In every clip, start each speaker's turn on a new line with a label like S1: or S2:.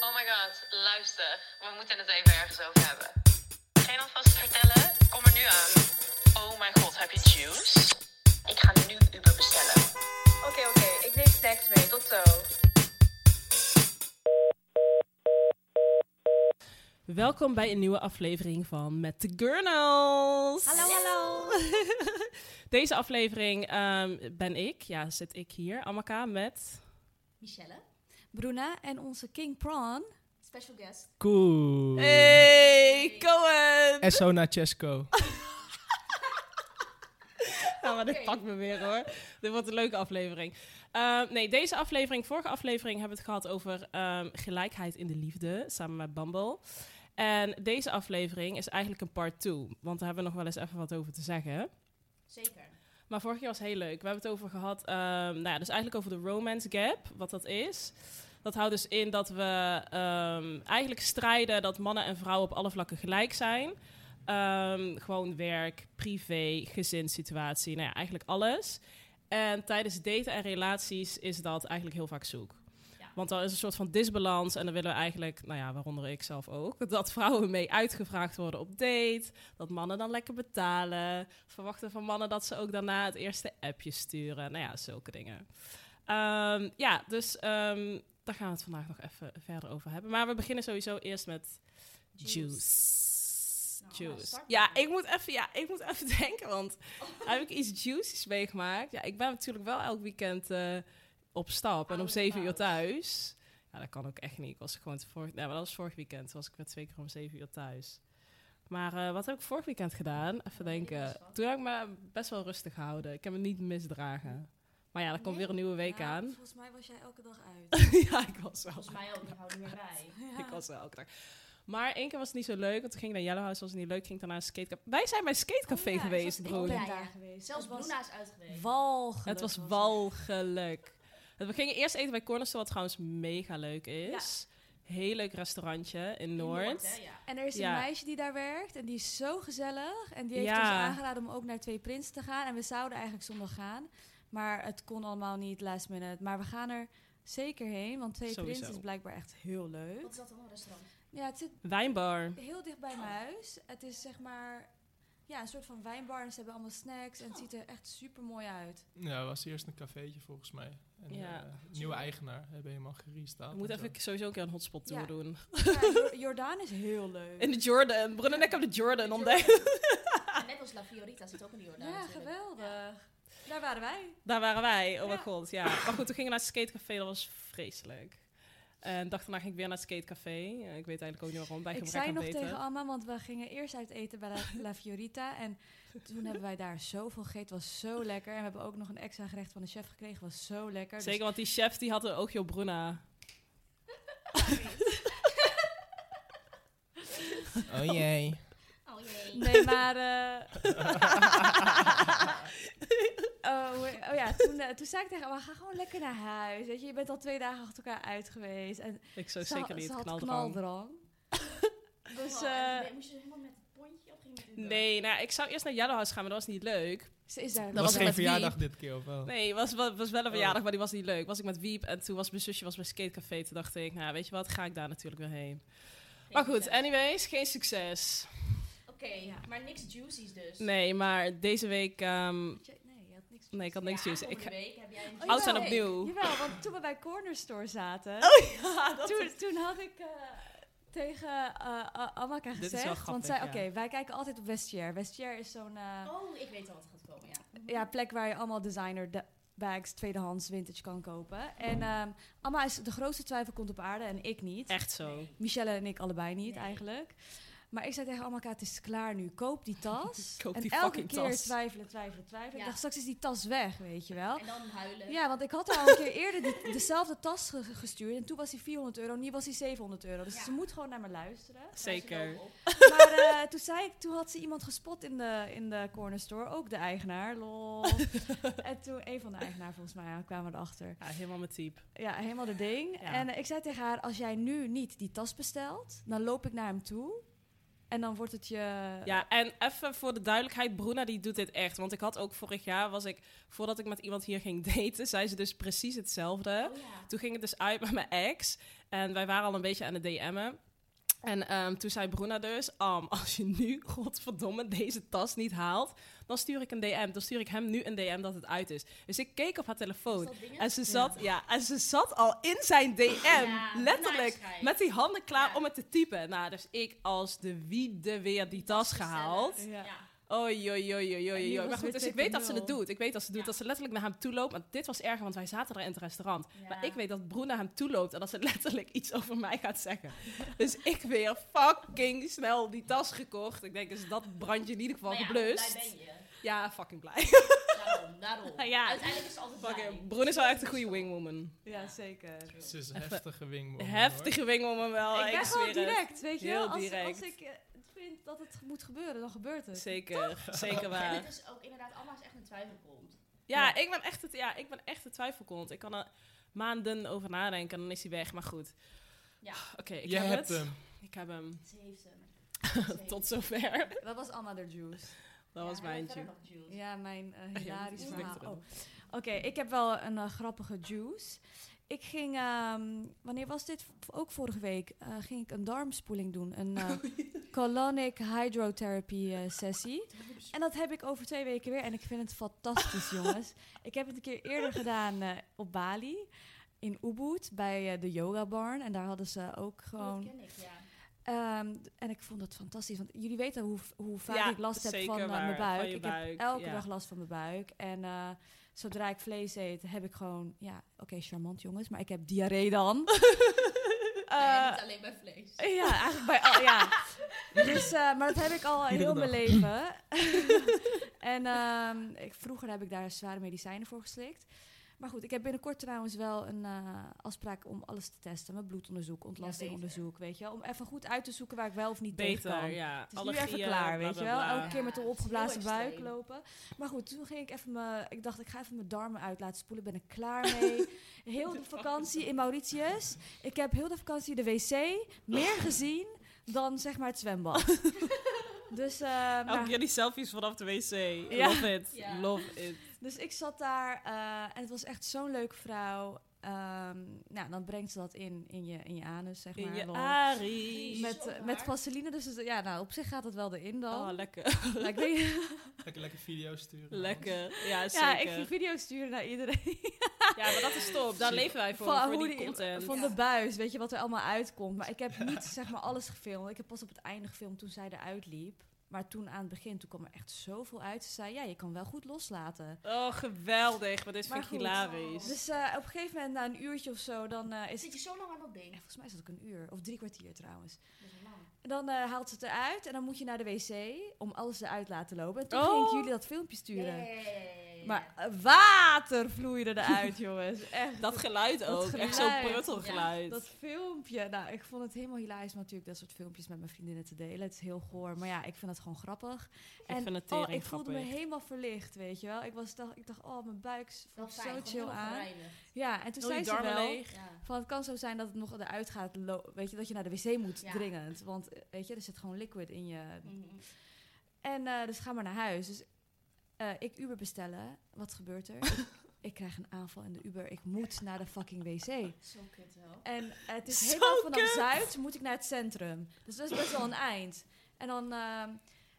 S1: Oh my god, luister. We moeten het even ergens over hebben. Geen alvast vertellen? Kom er nu aan. Oh mijn god, heb je juice? Ik ga nu Uber bestellen. Oké, oké. Ik neem snacks mee. Tot zo.
S2: Welkom bij een nieuwe aflevering van Met de Gurnals.
S3: Hallo, hallo.
S2: Deze aflevering ehm, ben ik, ja, zit ik hier, Amaka, met
S3: Michelle. Bruna en onze King Prawn. Special guest.
S4: Cool.
S3: Eh.
S2: Hey Cohen.
S4: Esso Nachesco.
S2: Nou, maar dit pakt me weer hoor. Dit wordt een leuke aflevering. Ehm, nee, deze aflevering, vorige aflevering hebben we het gehad over ehm, gelijkheid in de liefde samen met Bumble. En deze aflevering is eigenlijk een part 2, want daar hebben we nog wel eens even wat over te zeggen.
S3: Zeker.
S2: Maar vorig jaar was heel leuk. We hebben het over gehad, ehm, nou ja, dus eigenlijk over de romance gap, wat dat is. Dat houdt dus in dat we ehm, eigenlijk strijden dat mannen en vrouwen op alle vlakken gelijk zijn. Ehm, gewoon werk, privé, gezinssituatie, nou ja, eigenlijk alles. En tijdens daten en relaties is dat eigenlijk heel vaak zoek.
S3: Ja.
S2: Want dan is een soort van disbalans en dan willen we eigenlijk, nou ja, waaronder ik zelf ook, dat vrouwen mee uitgevraagd worden op date, dat mannen dan lekker betalen, verwachten van mannen dat ze ook daarna het eerste appje sturen, nou ja, zulke dingen. Ehm, ja, dus ehm, daar gaan we het vandaag nog even verder over hebben. Maar we beginnen sowieso eerst met
S3: Juice.
S2: juice. Juice.
S3: Nou, nou, start maar.
S2: Ja, ik moet even, ja, ik moet even denken, want heb ik iets juicies meegemaakt? Ja, ik ben natuurlijk wel elk weekend eh, op stap en om
S3: Oude
S2: zeven uur
S3: pauze.
S2: thuis. Ja, dat kan ook echt niet. Ik was gewoon te vorig, nee, maar dat was vorig weekend. Toen was ik weer twee keer om zeven uur thuis. Maar eh, wat heb ik vorig weekend gedaan? Even denken. Toen heb ik me best wel rustig gehouden. Ik heb me niet misdragen. Maar ja, er komt
S3: Nee.
S2: weer een nieuwe week
S3: Ja,
S2: aan.
S3: Volgens mij was jij elke dag uit.
S2: ja, ik was wel.
S5: Volgens mij ook, ik hou er niet meer bij.
S3: Ja.
S2: Ik was wel elke dag. Maar één keer was het niet zo leuk, want toen ging ik naar Yellow House, was het niet leuk. Ging ik daarna naar een skatecafé. Wij zijn bij een skatecafé
S3: Oh ja,
S2: geweest,
S3: ik
S2: bro.
S3: was- Ik ben
S5: broer.
S3: daar geweest.
S5: Zelfs
S3: Het was
S5: Bruna is uit geweest.
S3: Walgelijk.
S2: Het was
S3: het.
S2: walgelijk. We gingen eerst eten bij Cornerstone, wat trouwens mega leuk is. Heel leuk restaurantje in
S5: In
S2: Noord.
S5: hè, ja.
S3: En er is
S2: Ja.
S3: een meisje die daar werkt en die is zo gezellig. En die heeft
S2: Ja.
S3: ons aangeraden om ook naar Twee Prins te gaan. En we zouden eigenlijk zondag gaan. Maar het kon allemaal niet last minute. Maar we gaan er zeker heen, want Twee
S2: Sowieso.
S3: Prins is blijkbaar echt heel leuk.
S5: Wat is dat dan voor een restaurant?
S3: Ja, het zit
S2: Wijnbar.
S3: heel dicht bij mijn huis. Het is zeg maar ja, een soort van wijnbar en ze hebben allemaal snacks en het ziet er echt super mooi uit.
S4: Ja, het was eerst een cafeetje volgens mij. En,
S2: Ja.
S4: eh, nieuwe eigenaar hebben helemaal gerestart.
S2: We moeten
S4: en zo.
S2: even sowieso een keer een hotspot tour
S3: Ja.
S2: doen.
S3: Ja, Jo- Jordaan is heel leuk.
S2: In de Jordan. Brunnen en ik heb de Jordan ontdekt.
S5: En net als La Fiorita zit ook in de Jordaan
S3: ja,
S5: natuurlijk.
S3: geweldig.
S5: Ja.
S3: Daar waren wij.
S2: Daar waren wij. Oh mijn
S3: Ja.
S2: god, ja. Maar goed, toen gingen we naar het skatecafé. Dat was vreselijk. En de dag daarna ging ik weer naar het skatecafé. Eh, Ik weet eigenlijk ook niet waarom. Bij
S3: Ik
S2: gebrek
S3: zei
S2: aan
S3: nog
S2: daten.
S3: tegen Amma, want we gingen eerst uit eten bij La, La Fiorita. En toen hebben wij daar zoveel gegeten. Het was zo lekker. En we hebben ook nog een extra gerecht van de chef gekregen. Het was zo lekker. Dus
S2: Zeker, want die chef die had een oogje op Bruna.
S4: Oh jee.
S5: Oh jee.
S3: Nee, maar. eh, oh, hoe- oh ja, toen, eh, toen zei ik tegen haar: ga gewoon lekker naar huis. Weet je, je bent al twee dagen achter elkaar uit geweest. En
S2: Ik zou
S3: ze,
S2: zeker
S3: had-
S2: niet
S3: ze had
S2: knaldrang.
S3: dus
S5: Oh, en
S3: eh,
S5: ben- moest je helemaal met het pontje of ging je met Uber?
S2: Nee, nou, ik zou eerst naar Yellow House gaan, maar dat was niet leuk.
S3: ze is daar.
S2: Dat
S4: Dat
S2: was
S4: was
S2: er
S4: geen
S2: met
S4: verjaardag dit keer, of wel?
S2: Nee, was, was, was wel een
S4: Oh.
S2: verjaardag, maar die was niet leuk. Was ik met Wiep en toen was mijn zusje was bij Skatecafé. Toen dacht ik, nou weet je wat, ga ik daar natuurlijk weer heen.
S5: Geen
S2: maar goed,
S5: succes.
S2: anyways, geen succes.
S5: Oké, maar niks juicies dus.
S2: Nee, maar deze week... ehm,
S3: Had je- Nee, je had niks.
S2: nee, ik had niks juice. Ik
S5: Ik
S2: ga-
S5: week heb jij een
S3: Oh,
S2: Oud
S3: jawel.
S2: en
S3: Nee.
S2: opnieuw. Oh,
S3: Jawel, want toen we bij Corner Store zaten, toen, toen had ik eh, tegen eh, A- Amaka
S2: Dit is
S3: gezegd,
S2: wel
S3: want
S2: grappig,
S3: zij,
S2: ja.
S3: oké, wij kijken altijd op Vestiaire. Vestiaire is zo'n eh,
S5: Oh, ik weet al wat gaat komen, ja.
S3: ja, plek waar je allemaal designer da- bags, tweedehands, vintage kan kopen. En ehm Amma is de grootste twijfelkont op aarde en ik niet.
S2: Echt zo.
S3: Michelle en ik allebei niet
S5: Nee.
S3: eigenlijk. Maar ik zei tegen Amaka, het is klaar nu. Koop die tas.
S2: Koop
S3: en
S2: die
S3: elke
S2: fucking
S3: keer
S2: tas.
S3: twijfelen, twijfelen, twijfelen. Ik
S5: Ja.
S3: dacht, straks is die tas weg, weet je wel.
S5: En dan huilen.
S3: Ja, want ik had haar al een keer eerder die- dezelfde tas ge- gestuurd. En toen was die 400 euro, en nu was die 700 euro. Dus
S5: Ja.
S3: ze moet gewoon naar me luisteren.
S2: Zeker.
S3: Maar eh, toen, zei ik, toen had ze iemand gespot in de, in de corner store. Ook de eigenaar, lol. en toen, een van de eigenaar volgens mij, ja, kwamen we erachter.
S2: Ja, helemaal mijn type.
S3: Ja, helemaal de ding.
S2: Ja.
S3: En eh, ik zei tegen haar, als jij nu niet die tas bestelt, dan loop ik naar hem toe. En dan wordt het je...
S2: Ja, en even voor de duidelijkheid, Bruna die doet dit echt. Want ik had ook vorig jaar, was ik, voordat ik met iemand hier ging daten, zei ze dus precies hetzelfde.
S5: Oh ja.
S2: Toen ging het dus uit met mijn ex. En wij waren al een beetje aan het DM'en. En ehm, toen zei Bruna dus, "Am, als je nu, godverdomme, deze tas niet haalt, dan stuur ik een DM. Dan stuur ik hem nu een DM dat het uit is. Dus ik keek op haar
S5: Oh Is
S2: telefoon.
S5: dat dingen?
S2: En ze, zat, ja. en ze zat al in zijn DM,
S5: Ja,
S2: letterlijk,
S5: nice guy.
S2: met die handen klaar
S5: Ja.
S2: om het te typen. Nou, dus ik als de wiede weer die tas gehaald.
S3: Ja.
S5: Ja.
S2: Oei, oei, oei, oei,
S3: En die
S2: oei, oei.
S3: was
S2: Maar goed,
S3: weer
S2: dus ik weet dat ze het
S3: 2.0.
S2: doet. Ik weet dat ze het doet.
S5: Ja.
S2: Dat ze letterlijk naar hem toe loopt. Maar dit was erger, want wij zaten er in het restaurant.
S5: Ja.
S2: Maar ik weet dat Broen naar hem toe loopt en dat ze letterlijk iets over mij gaat zeggen. Dus ik weer fucking snel die tas gekocht. Ik denk, is dat brandje in ieder geval
S5: Maar ja,
S2: geblust?
S5: Blij ben je.
S2: Ja, fucking blij.
S5: Daarom, daarom.
S2: Ja.
S5: Uiteindelijk is het altijd blij.
S2: Fucking, Broen is wel echt een goede wingwoman.
S3: Ja, zeker.
S4: Ze is een heftige wingwoman. hoor.
S2: Heftige wingwoman wel.
S3: ik ben
S2: oh, zweer
S3: gewoon
S2: het.
S3: direct, weet je
S2: Heel
S3: wel. Als,
S2: direct.
S3: als ik eh, vind dat het moet gebeuren, dan gebeurt het.
S2: Zeker, zeker waar.
S5: En het is ook inderdaad allemaal als echt een twijfel komt.
S2: Ja,
S3: Ja.
S2: Ik ben echt het, ja, ik ben echt de twijfelkont. Ik kan er maanden over nadenken en dan is hij weg. Maar goed.
S5: Ja.
S2: Oké, ik
S4: Je
S2: heb
S4: hebt
S2: het.
S4: hem.
S2: Ik heb hem.
S5: Ze heeft hem. Ze heeft hem.
S2: Tot zover.
S3: Dat was another juice.
S2: Dat was
S5: Ja, en
S2: mijn
S5: verder
S2: tune.
S5: nog Jules.
S3: Ja, mijn eh,
S2: dat
S3: hilarisch
S2: is
S3: verhaal.
S2: leuk.
S3: Oh. Oké, ik heb wel een eh, grappige juice. Ik ging, ehm, wanneer was dit? V- Ook vorige week eh, ging ik een darmspoeling doen. Een eh, colonic hydrotherapy eh, sessie. En dat heb ik over twee weken weer. En ik vind het fantastisch, jongens. Ik heb het een keer eerder gedaan eh, op Bali. In Ubud, bij eh, de yoga barn. En daar hadden ze ook
S5: Oh,
S3: gewoon...
S5: Dat ken ik, ja.
S3: Ehm, d- en ik vond het fantastisch, want jullie weten hoe, v- hoe vaak
S2: Ja,
S3: ik last heb
S2: zeker
S3: van eh,
S2: waar,
S3: mijn
S2: van
S3: buik.
S2: je
S3: Ik heb
S2: buik,
S3: elke
S2: ja.
S3: dag last van mijn buik. En eh, zodra ik vlees eet, heb ik gewoon, ja, oké, charmant jongens, maar ik heb diarree dan.
S5: Ja,
S3: Eh,
S5: niet alleen bij vlees.
S3: ja, eigenlijk bij al, ja. Dus, eh, maar dat heb ik al
S4: Iedere
S3: heel mijn
S4: dag.
S3: leven. en ehm, ik, vroeger heb ik daar zware medicijnen voor geslikt. Maar goed, ik heb binnenkort trouwens wel een eh, afspraak om alles te testen. Mijn bloedonderzoek, ontlastingonderzoek, weet je wel. Om even goed uit te zoeken waar ik wel of niet tegen
S2: Beter,
S3: kan.
S2: ja.
S3: Het is nu even klaar, weet je wel. Elke keer met een
S5: Ja, het is heel
S3: opgeblazen buik
S5: extreem.
S3: lopen. Maar goed, toen ging ik even mijn... Ik dacht, ik ga even mijn darmen uit laten spoelen. Ben ik klaar mee. Heel de vakantie in Mauritius. Ik heb heel de vakantie de wc meer gezien dan zeg maar het zwembad. dus, eh,
S2: Elke
S3: nou,
S2: keer die selfies vanaf de wc.
S3: Ja.
S2: Love it.
S5: Ja.
S2: Love it.
S3: dus ik zat daar eh, en het was echt zo'n leuke vrouw. Ehm, nou, dan brengt ze dat in, in, je, in je anus, zeg maar.
S2: In je
S3: Lol.
S2: Ari.
S5: Jezus,
S3: met,
S5: op
S3: eh, met
S5: haar.
S3: vaseline, dus het- ja, nou, op zich gaat dat wel erin dan.
S2: Oh, lekker.
S3: Maar ik weet,
S4: Lekker, lekker video's sturen.
S2: Lekker. Ja, zeker.
S3: ja, ik ging video's sturen naar iedereen.
S2: Ja, maar dat is top. Daar leven wij voor.
S3: Van
S2: voor
S3: hoe
S2: die
S3: die-
S2: content.
S3: Van de buis, weet je wat er allemaal uitkomt. Maar ik heb niet zeg maar alles gefilmd. Ik heb pas op het einde gefilmd toen zij eruit liep. Maar toen aan het begin, toen kwam er echt zoveel uit. Ze zei, ja, je kan wel goed loslaten.
S2: Oh, geweldig. Maar dit
S3: Maar
S2: vind ik
S3: goed.
S2: hilarisch.
S3: Dus eh, op een gegeven moment, na een uurtje of zo, dan eh, is
S5: Zit
S3: het...
S5: je zo lang aan dat
S3: eh,
S5: ding?
S3: Volgens mij zat ik een uur, of drie kwartier trouwens.
S5: Dat is lang.
S3: En dan eh, haalt ze het eruit en dan moet je naar de wc om alles eruit te laten lopen. En toen
S2: Oh.
S3: ging ik jullie dat filmpje
S5: Ja,
S3: sturen.
S5: ja, ja, ja, ja, ja, ja.
S3: Maar eh, water vloeide eruit, jongens. Echt.
S2: dat geluid
S3: Dat
S2: ook. Echt
S3: geluid.
S2: zo'n pruttelgeluid.
S3: Dat filmpje, nou, ik vond het helemaal hilarisch om natuurlijk dat soort filmpjes met mijn vriendinnen te delen. Het is heel goor, maar ja, ik vind het gewoon grappig.
S2: Ik vind het
S3: oh,
S2: tering
S3: ik voelde me
S2: grappig.
S3: helemaal verlicht, weet je wel. Ik, was, dacht, ik dacht, oh, mijn buik s- voelt
S5: dat
S3: zo
S5: zijn
S3: chill
S5: gewoon
S3: aan.
S5: gereinigd.
S3: Ja, en toen
S2: Heel je
S3: zei ze
S2: darmen
S3: wel,
S2: leeg.
S5: Ja.
S3: van het kan zo zijn dat het nog eruit gaat, lo- weet je, dat je naar de wc moet
S5: Ja.
S3: dringend. Want, eh, weet je, er zit gewoon liquid in je.
S5: Mhm.
S3: En eh, dus ga maar naar huis. Dus eh, ik Uber bestellen. Wat gebeurt er? ik, ik krijg een aanval in de Uber. Ik moet naar de fucking wc.
S5: Zo kut wel.
S3: En eh, het is
S2: Zo
S3: helemaal vanaf
S2: kut.
S3: Zuid moet ik naar het centrum. Dus dat is best wel een eind. En dan... ehm,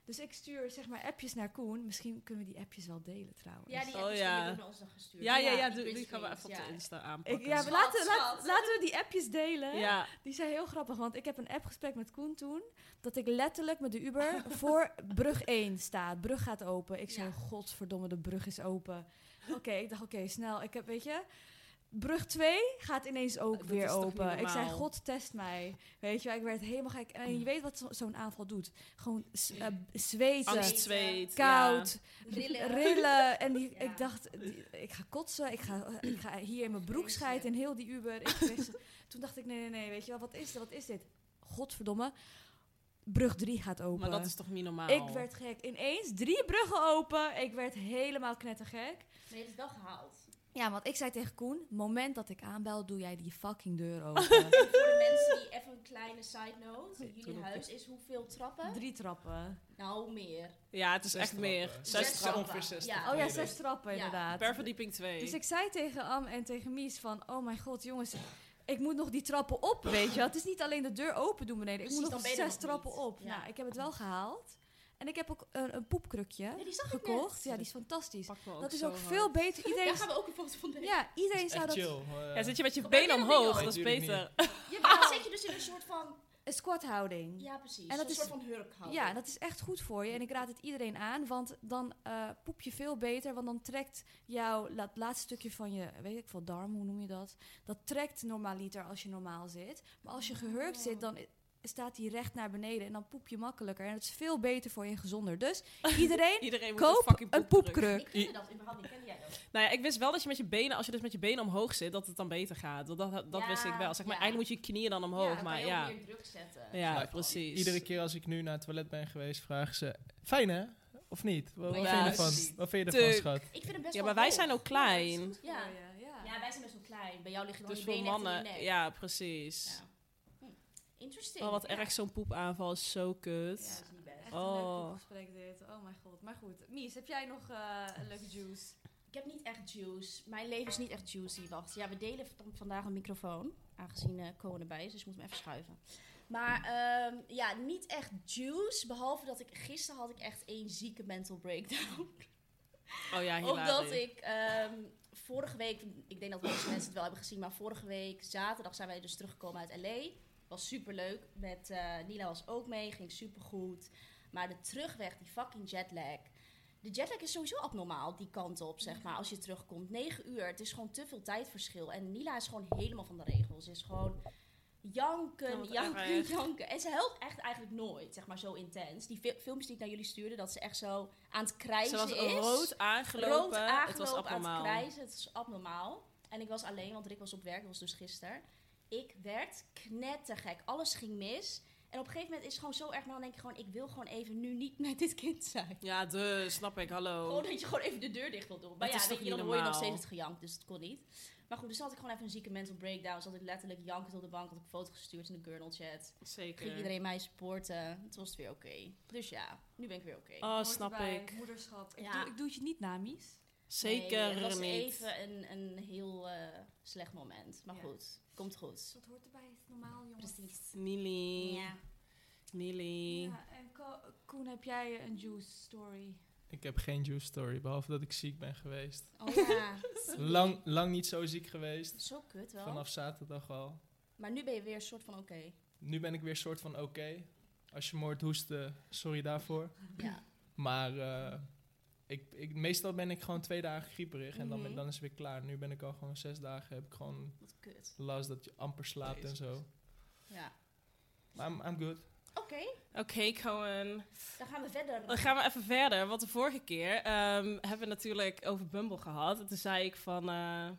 S3: dus ik stuur zeg maar appjes naar Koen. Misschien kunnen we die appjes wel delen trouwens.
S5: Ja, die
S2: Oh,
S5: hebben
S2: ja.
S5: ja. ons dan gestuurd.
S2: Ja, ja, ja.
S5: die
S2: doe- Die,
S5: quiz
S2: gaan we
S5: games,
S2: even op
S5: ja.
S2: de Insta
S3: Ik,
S2: aanpakken.
S3: ja we
S5: Schat,
S3: laten,
S5: schat.
S3: laten- laten we die appjes delen.
S2: Ja.
S3: Die zijn heel grappig, want ik heb een appgesprek met Koen toen. Dat ik letterlijk met de Uber voor brug 1 sta. Brug gaat open. Ik zei,
S5: Ja.
S3: godverdomme, de brug is open. Oké, ik dacht, oké, snel. Ik heb, weet je... Brug 2 gaat ineens ook
S2: Dat
S3: weer
S2: is toch niet
S3: open. Ik zei,
S2: normaal?
S3: god, test mij. Weet je, wel, ik werd helemaal gek. En je weet wat zo- zo'n aanval doet. Gewoon s- eh, zweten,
S2: Angst, zweet.
S3: koud,
S5: Rillen.
S3: rillen. En die,
S5: Ja.
S3: ik dacht, die- ik ga kotsen, ik ga, ik ga hier in mijn broek scheiden in heel die Uber. Ik kreeg ze- toen dacht ik, nee, nee, nee, weet je wel, wat is dit? Wat is dit? Godverdomme, brug 3 gaat
S2: Ja.
S3: open.
S2: Maar dat is toch niet normaal?
S3: ik werd gek. Ineens drie bruggen open. Ik werd helemaal knettergek.
S5: Maar je hebt het wel gehaald.
S3: Ja, want ik zei tegen Koen, moment dat ik aanbel, doe jij die fucking deur open.
S5: Voor de mensen die even een kleine side note.
S4: doe
S5: Jullie
S4: dat
S5: huis is hoeveel trappen?
S3: Drie trappen.
S5: Nou, meer.
S2: Ja, het is
S4: Zes
S2: echt
S4: trappen.
S2: meer.
S4: Zes
S2: Zes
S5: trappen.
S2: trappen.
S4: Ongeveer 60.
S5: Ja.
S3: Oh ja,
S4: meter.
S3: zes trappen
S5: Ja.
S3: inderdaad.
S2: Per verdieping 2.
S3: Dus ik zei tegen Am en tegen Mies van, oh mijn god jongens, ik moet nog die trappen op, weet je wel. Het is niet alleen de deur open doen beneden, ik
S5: Precies,
S3: moet nog
S5: dan ben je er
S3: zes
S5: nog
S3: trappen
S5: niet.
S3: op.
S5: Ja.
S3: Nou, ik heb het wel gehaald. En ik heb ook een, een poepkrukje
S5: Ja, die zag ik
S3: gekocht.
S5: net.
S3: Ja, die is fantastisch.
S2: Pak me
S3: Dat is
S2: zo
S3: ook
S2: hard.
S3: veel beter. Iedereen,
S5: Daar gaan we ook een foto van nemen.
S3: ja, iedereen
S4: Echt
S3: zou dat...
S4: chill. eh,
S2: Ja, zit je met je
S5: Maar
S2: benen
S5: benen
S2: omhoog,
S5: omhoog.
S2: dat is
S4: Nee, tuurlijk
S2: beter.
S5: Ja, maar
S2: Oh.
S5: dan zit je dus in een soort van...
S3: Een squathouding.
S5: Ja, precies.
S3: En dat
S5: een
S3: is-
S5: soort van hurkhouding.
S3: Ja, en dat is echt goed voor je. En ik raad het iedereen aan, want dan eh, poep je veel beter. Want dan trekt jouw la- laatste stukje van je, weet ik veel, darm, hoe noem je dat? Dat trekt normaliter als je normaal zit. Maar als je gehurkt zit, dan i- staat die recht naar beneden. En dan poep je makkelijker. En het is veel beter voor je en gezonder. Dus iedereen,
S2: Iedereen moet een
S3: koop
S2: fucking
S3: een
S2: poepkruk.
S3: poepkruk.
S5: Ik kende dat überhaupt niet. Kende jij dat?
S2: Nou ja, ik wist wel dat je met je benen, als je dus met je benen omhoog zit, dat het dan beter gaat. Dat, dat, dat
S5: Ja,
S2: wist ik wel. Zeg maar,
S5: ja.
S2: eigenlijk moet je knieën dan
S5: Ja,
S2: omhoog.
S5: dan kan
S2: maar
S5: je
S2: ja,
S5: ook meer druk zetten.
S2: ja
S4: Nou,
S2: precies.
S4: Iedere keer als ik nu naar het toilet ben geweest, vragen ze: Fijn hè? Of niet? Wat, wat
S2: Ja,
S4: vind je ervan?
S2: precies.
S4: Wat vind je ervan,
S2: Tuurlijk.
S4: schat?
S5: Ik vind hem best
S2: Ja,
S5: wel
S2: maar wij
S5: hoog.
S2: zijn ook klein.
S5: Ja.
S3: ja.
S5: Ja, wij zijn best wel klein. Bij jou liggen dan
S2: Dus
S5: je
S2: voor
S5: benen echt in je
S2: mannen,
S5: nek.
S2: ja, precies.
S5: Ja. Hm. Interesting.
S2: Oh, wat
S5: Ja.
S2: erg, zo'n poepaanval is zo
S5: Ja,
S2: kut.
S5: dat is niet best.
S3: Echt een leuk
S2: Oh.
S3: poepgesprek dit. Oh mijn god. Maar goed, Mies, heb jij nog eh, een leuke juice?
S5: Ik heb niet echt juice. Mijn leven is niet echt juicy. Wacht. Ja, we delen v- vandaag een microfoon. Aangezien eh Cohen erbij is, dus ik moet hem even schuiven. Maar ehm, ja, niet echt juice. Behalve dat ik gisteren had ik echt één zieke mental breakdown.
S2: Oh ja,
S5: Omdat
S2: hilarisch.
S5: ik ehm, vorige week, ik denk dat deze mensen het wel hebben gezien, maar vorige week zaterdag zijn wij dus teruggekomen uit LA. Was superleuk. Met eh, Nila was ook mee, ging supergoed. Maar de terugweg, die fucking jetlag. De jetlag is sowieso abnormaal die kant op, zeg maar, als je terugkomt. 9 uur, het is gewoon te veel tijdverschil. En Nila is gewoon helemaal van de regels. Ze is gewoon
S2: Oh,
S5: janken,
S2: wat
S5: janken,
S2: erg.
S5: janken. En ze helpt echt eigenlijk nooit, zeg maar, zo intens. Die fi- filmpjes die ik naar jullie stuurde, dat ze echt zo aan het
S2: Ze
S5: krijzen
S2: was
S5: is.
S2: rood aangelopen.
S5: Rood aangelopen
S2: het was
S5: aan
S2: abnormaal.
S5: het krijzen. Het is abnormaal. En ik was alleen, want Rick was op werk. Dat was dus gisteren. Ik werd knettergek. Alles ging mis. En op een gegeven moment is het gewoon zo erg. Maar dan denk je gewoon, ik wil gewoon even nu niet met dit kind zijn.
S2: Ja, dus, snap ik, hallo.
S5: Gewoon dat je gewoon even de deur dicht wil doen. Maar
S2: Dat is
S5: ja,
S2: toch
S5: weet je, dan
S2: niet
S5: hoor je nog
S2: normaal?
S5: steeds het gejank. Dus het kon niet. Maar goed, dus had ik gewoon even een zieke mental breakdown. Zat ik letterlijk jankend op de bank. Had ik een foto gestuurd in de Gurnal chat.
S2: Zeker.
S5: Ging iedereen mij supporten. Toen was het weer oké. Dus ja, nu ben ik weer oké.
S2: Oh,
S3: Hoort
S2: snap
S3: erbij,
S2: ik.
S3: Moederschap. Ik,
S5: Ja.
S3: doe, ik doe het je niet na, Mies.
S2: Zeker
S5: nee, het was
S2: niet.
S5: even een, een heel eh, slecht moment. Maar
S3: Ja.
S5: goed, komt goed.
S3: Dat hoort erbij, is normaal jongens.
S5: Precies.
S2: Nili.
S5: Ja.
S2: Nili.
S3: Ja, en Ko- Koen, heb jij een juice story?
S4: Ik heb geen juice story, behalve dat ik ziek ben geweest.
S5: Oh ja.
S4: Lang, lang niet zo ziek geweest.
S5: Zo kut wel.
S4: Vanaf zaterdag al.
S5: Maar nu ben je weer een soort van oké.
S4: Nu ben ik weer soort van oké. Als je moord hoesten, sorry daarvoor.
S5: Ja.
S4: Maar eh, ik, ik, meestal ben ik gewoon twee dagen grieperig en dan, ben-
S5: Mhm.
S4: dan is het weer klaar. Nu ben ik al gewoon zes dagen, heb ik gewoon
S5: Wat kut.
S4: last dat je amper slaapt en zo.
S5: Ja.
S4: Maar I'm, I'm good.
S5: Oké,
S2: Oké, Cohen.
S5: dan gaan we verder.
S2: Dan gaan we even verder. Want de vorige keer ehm, hebben we natuurlijk over Bumble gehad. En toen zei ik van... eh,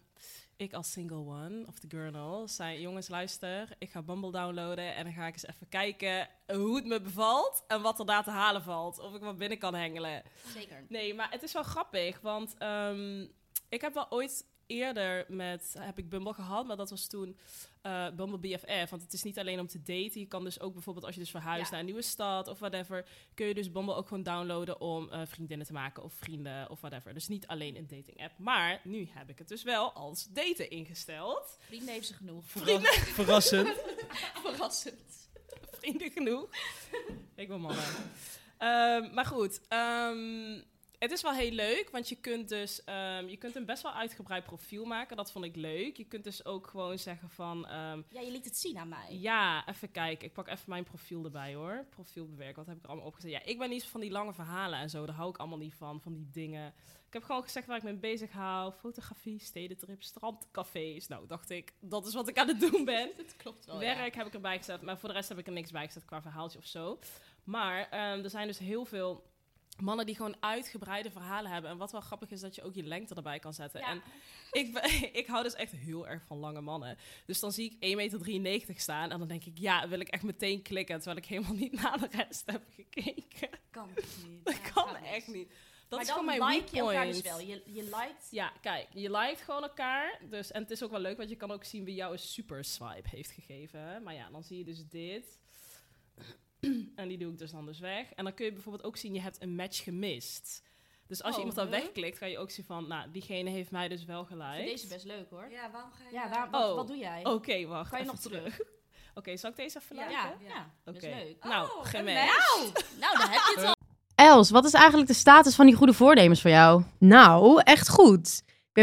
S2: ik als single one, of de girl, zei... Jongens, luister. Ik ga Bumble downloaden. En dan ga ik eens even kijken hoe het me bevalt. En wat er daar te halen valt. Of ik wat binnen kan hengelen.
S5: Zeker.
S2: Nee, maar het is wel grappig, want ehm, ik heb wel ooit eerder met, heb ik Bumble gehad, maar dat was toen eh Bumble BFF. Want het is niet alleen om te daten, je kan dus ook bijvoorbeeld als je dus verhuist
S5: Ja.
S2: naar een nieuwe stad of whatever, kun je dus Bumble ook gewoon downloaden om eh, vriendinnen te maken of vrienden of whatever. Dus niet alleen een dating app, maar nu heb ik het dus wel als daten ingesteld.
S5: Vrienden heeft ze genoeg.
S4: Verras- verrassend.
S5: Verrassend.
S2: Vrienden genoeg. ik ben mannen. Ehm, maar goed, ehm, het is wel heel leuk, want je kunt dus ehm, je kunt een best wel uitgebreid profiel maken. Dat vond ik leuk. Je kunt dus ook gewoon zeggen van, ehm,
S5: Ja, je liet het zien aan mij.
S2: ja, even kijken. Ik pak even mijn profiel erbij hoor. Profiel bewerken, wat heb ik er allemaal opgezet? Ja, ik ben niet zo van die lange verhalen en zo. Daar hou ik allemaal niet van, van die dingen. Ik heb gewoon gezegd waar ik mee bezig hou. Fotografie, stedentrips, strandcafés. Nou, dacht ik, dat is wat ik aan het doen ben.
S5: Dat klopt wel. Oh, ja.
S2: Werk heb ik erbij gezet, maar voor de rest heb ik er niks bij gezet qua verhaaltje of zo. Maar ehm, er zijn dus heel veel mannen die gewoon uitgebreide verhalen hebben. En wat wel grappig is, dat je ook je lengte erbij kan zetten.
S5: Ja.
S2: En ik, ben- ik hou dus echt heel erg van lange mannen. Dus dan zie ik 1,93 meter staan en dan denk ik, ja, wil ik echt meteen klikken. Terwijl ik helemaal niet naar de rest heb gekeken.
S3: Kan het niet.
S2: Dat
S5: Ja,
S2: kan
S5: gaat mis.
S2: echt niet. Dat
S5: maar
S2: is
S5: dan
S2: voor mij
S5: like
S2: weak
S5: je elkaar dus
S2: point.
S5: wel. Je, je liked...
S2: Ja, kijk, je liked gewoon elkaar. Dus, en het is ook wel leuk, want je kan ook zien wie jou een super swipe heeft gegeven. hè. Maar ja, dan zie je dus dit. en die doe ik dus dan dus weg. En dan kun je bijvoorbeeld ook zien, je hebt een match gemist. Dus als je
S5: Oh,
S2: iemand dan
S5: huh?
S2: wegklikt, ga je ook zien van... Nou, diegene heeft mij dus wel
S5: Ik vind
S2: gelijk.
S5: deze best leuk hoor. Ja,
S6: Ja, waarom ga je...
S5: waar, wat,
S2: Oh.
S5: wat doe jij?
S2: Oké, wacht.
S5: Kan je
S2: even
S5: nog terug?
S2: Oké, zal ik deze even
S5: Ja,
S2: liken?
S5: ja,
S6: Ja.
S5: best
S2: Oké.
S5: leuk.
S2: Nou, Eh,
S6: Oh, een
S2: gematcht.
S5: Nou, nou, dan heb je het al.
S7: Els, wat is eigenlijk de status van die goede voornemens voor jou?
S8: Nou, echt goed. Ik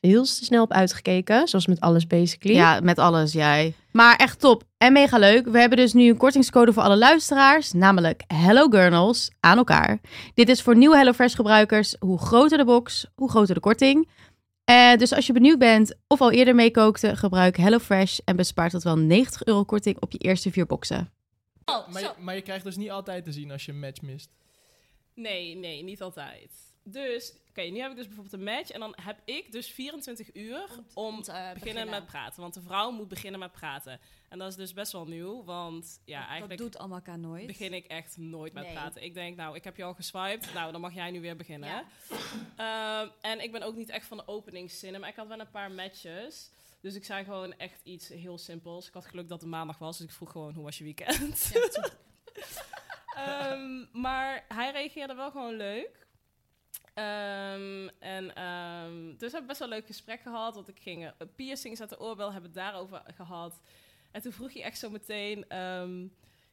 S8: heel te snel op uitgekeken. Zoals met alles basically.
S7: Ja, met alles, jij. Maar echt top en mega leuk. We hebben dus nu een kortingscode voor alle luisteraars, namelijk Hello Gurnals aan elkaar. Dit is voor nieuwe HelloFresh gebruikers. Hoe groter de box, hoe groter de korting. Eh, dus als je benieuwd bent of al eerder meekookte, gebruik HelloFresh en bespaart tot wel 90 euro korting op je eerste vier boxen.
S5: Oh,
S4: Maar,
S5: zo.
S4: je, maar je krijgt dus niet altijd te zien als je een match mist.
S2: Nee, nee, niet altijd. Dus, oké, nu heb ik dus bijvoorbeeld een match. En dan heb ik dus 24 uur om
S5: Om, eh,
S2: beginnen met praten. Want de vrouw moet beginnen met praten. En dat is dus best wel nieuw, want ja,
S3: dat
S2: eigenlijk
S3: doet Amaka nooit.
S2: begin ik echt nooit met
S5: Nee.
S2: praten. Ik denk, nou, ik heb je al geswiped, nou, dan mag jij nu weer beginnen.
S5: Ja.
S2: Ehm, en ik ben ook niet echt van de openingszinnen, maar ik had wel een paar matches. Dus ik zei gewoon echt iets heel simpels. Ik had geluk dat het maandag was, dus ik vroeg gewoon, hoe was je weekend? Ehm, maar hij reageerde wel gewoon leuk. Ehm, en ehm, dus we hebben best wel een leuk gesprek gehad. Want ik ging eh, piercings uit de oorbel, hebben het daarover gehad. En toen vroeg hij echt zo meteen... ehm,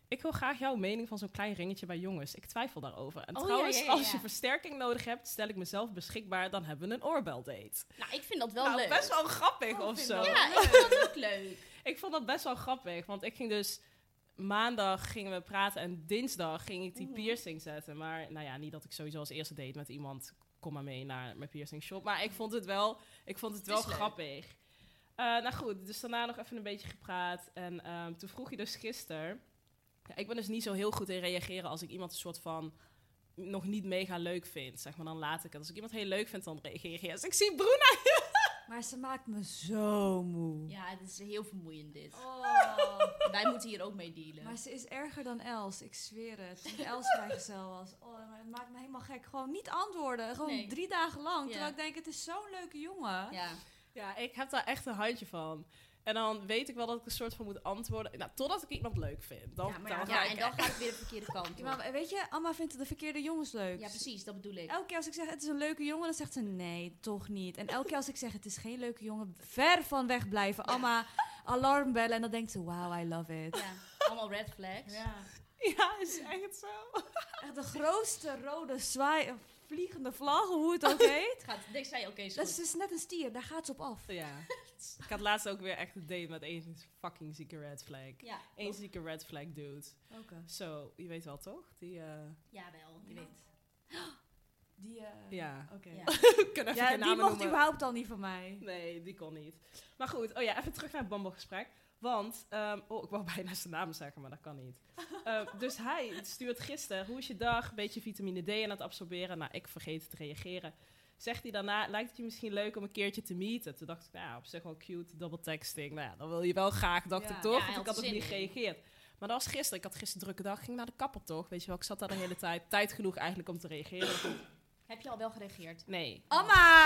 S2: ik wil graag jouw mening van zo'n klein ringetje bij jongens. Ik twijfel daarover. En
S5: Oh, ja,
S2: trouwens,
S5: ja, ja,
S2: als je
S5: ja.
S2: versterking nodig hebt, stel ik mezelf beschikbaar. Dan hebben we een oorbel-date.
S5: Nou, ik vind dat wel
S2: nou,
S5: leuk.
S2: best wel grappig of zo.
S5: Ja, ik vind dat ook leuk.
S2: Ik vond dat best wel grappig, want ik ging dus maandag gingen we praten en dinsdag ging ik die
S5: Mhm.
S2: piercing zetten. Maar nou ja, niet dat ik sowieso als eerste date met iemand kom maar mee naar mijn piercing shop. Maar ik vond het wel, ik vond het wel
S5: is leuk.
S2: grappig. Eh, nou goed, dus daarna nog even een beetje gepraat. En ehm, toen vroeg hij dus gisteren. Ja, ik ben dus niet zo heel goed in reageren als ik iemand een soort van nog niet mega leuk vind. Zeg maar, dan laat ik het. Als ik iemand heel leuk vind, dan reageer ik. Als ik zie Bruno.
S3: Maar ze maakt me zo moe.
S5: Ja, het is heel vermoeiend dit.
S3: Oh.
S5: Wij moeten hier ook mee dealen.
S3: Maar ze is erger dan Els, ik zweer het. Toen Els vrijgezel was. Oh, maar het maakt me helemaal gek. Gewoon niet antwoorden. Gewoon
S5: Nee.
S3: drie dagen lang.
S5: Ja.
S3: Terwijl ik denk, het is zo'n leuke jongen.
S5: Ja.
S2: Ja, ik heb daar echt een handje van. En dan weet ik wel dat ik een soort van moet antwoorden. Nou, totdat ik iemand leuk vind. Dan,
S3: Ja, maar
S2: dan
S3: ja,
S2: ga
S5: ja,
S2: ik
S5: en dan
S2: echt-
S5: gaat het weer de verkeerde kant
S3: Ja,
S5: op.
S3: maar weet je, Amma vindt de verkeerde jongens leuk.
S5: Ja, precies, dat bedoel ik.
S3: Elke keer als ik zeg het is een leuke jongen, dan zegt ze nee, toch niet. En elke keer als ik zeg het is geen leuke jongen, ver van weg blijven. Amma, alarm bellen en dan denkt ze, wow, I love it.
S5: Ja, allemaal red flags.
S6: Ja.
S2: Ja, is echt zo.
S3: Echt de grootste rode zwaai, vliegende vlag, hoe het ook heet.
S5: Het gaat, denk zij, oké, is
S3: Dat
S5: goed.
S3: is dus net een stier, daar gaat ze op af.
S2: Ja. ik had laatst ook weer echt een date met één fucking zieke red flag.
S5: Ja,
S2: Eén zieke red flag dude. Zo, je weet wel toch? Die, eh
S5: jawel. Je weet.
S3: Die, eh,
S2: ja.
S3: Oké.
S5: Ja.
S2: Ik kan even
S3: Ja,
S2: geen
S3: die
S2: namen
S3: mocht
S2: noemen.
S3: überhaupt al niet van mij.
S2: Nee, die kon niet. Maar goed, oh ja, even terug naar het Bumble-gesprek. Want, ehm, oh, ik wou bijna zijn naam zeggen, maar dat kan niet. Ehm, dus hij stuurt gisteren, hoe is je dag? Beetje vitamine D aan het absorberen. Nou, ik vergeet het te reageren. Zegt hij daarna, lijkt het je misschien leuk om een keertje te meeten? Toen dacht ik, nou ja, op zich wel cute, double texting. Nou ja, dan wil je wel graag, dacht
S3: Ja.
S2: ik toch?
S5: Ja, hij
S2: want
S5: had
S2: ik had ook
S5: zin
S2: niet
S5: in.
S2: gereageerd. Maar dat was gisteren. Ik had gisteren een drukke dag, ging naar de kapper toch? Weet je wel, ik zat daar de hele tijd. Tijd genoeg eigenlijk om te reageren.
S5: Heb je al wel gereageerd?
S2: Nee.
S3: Amma!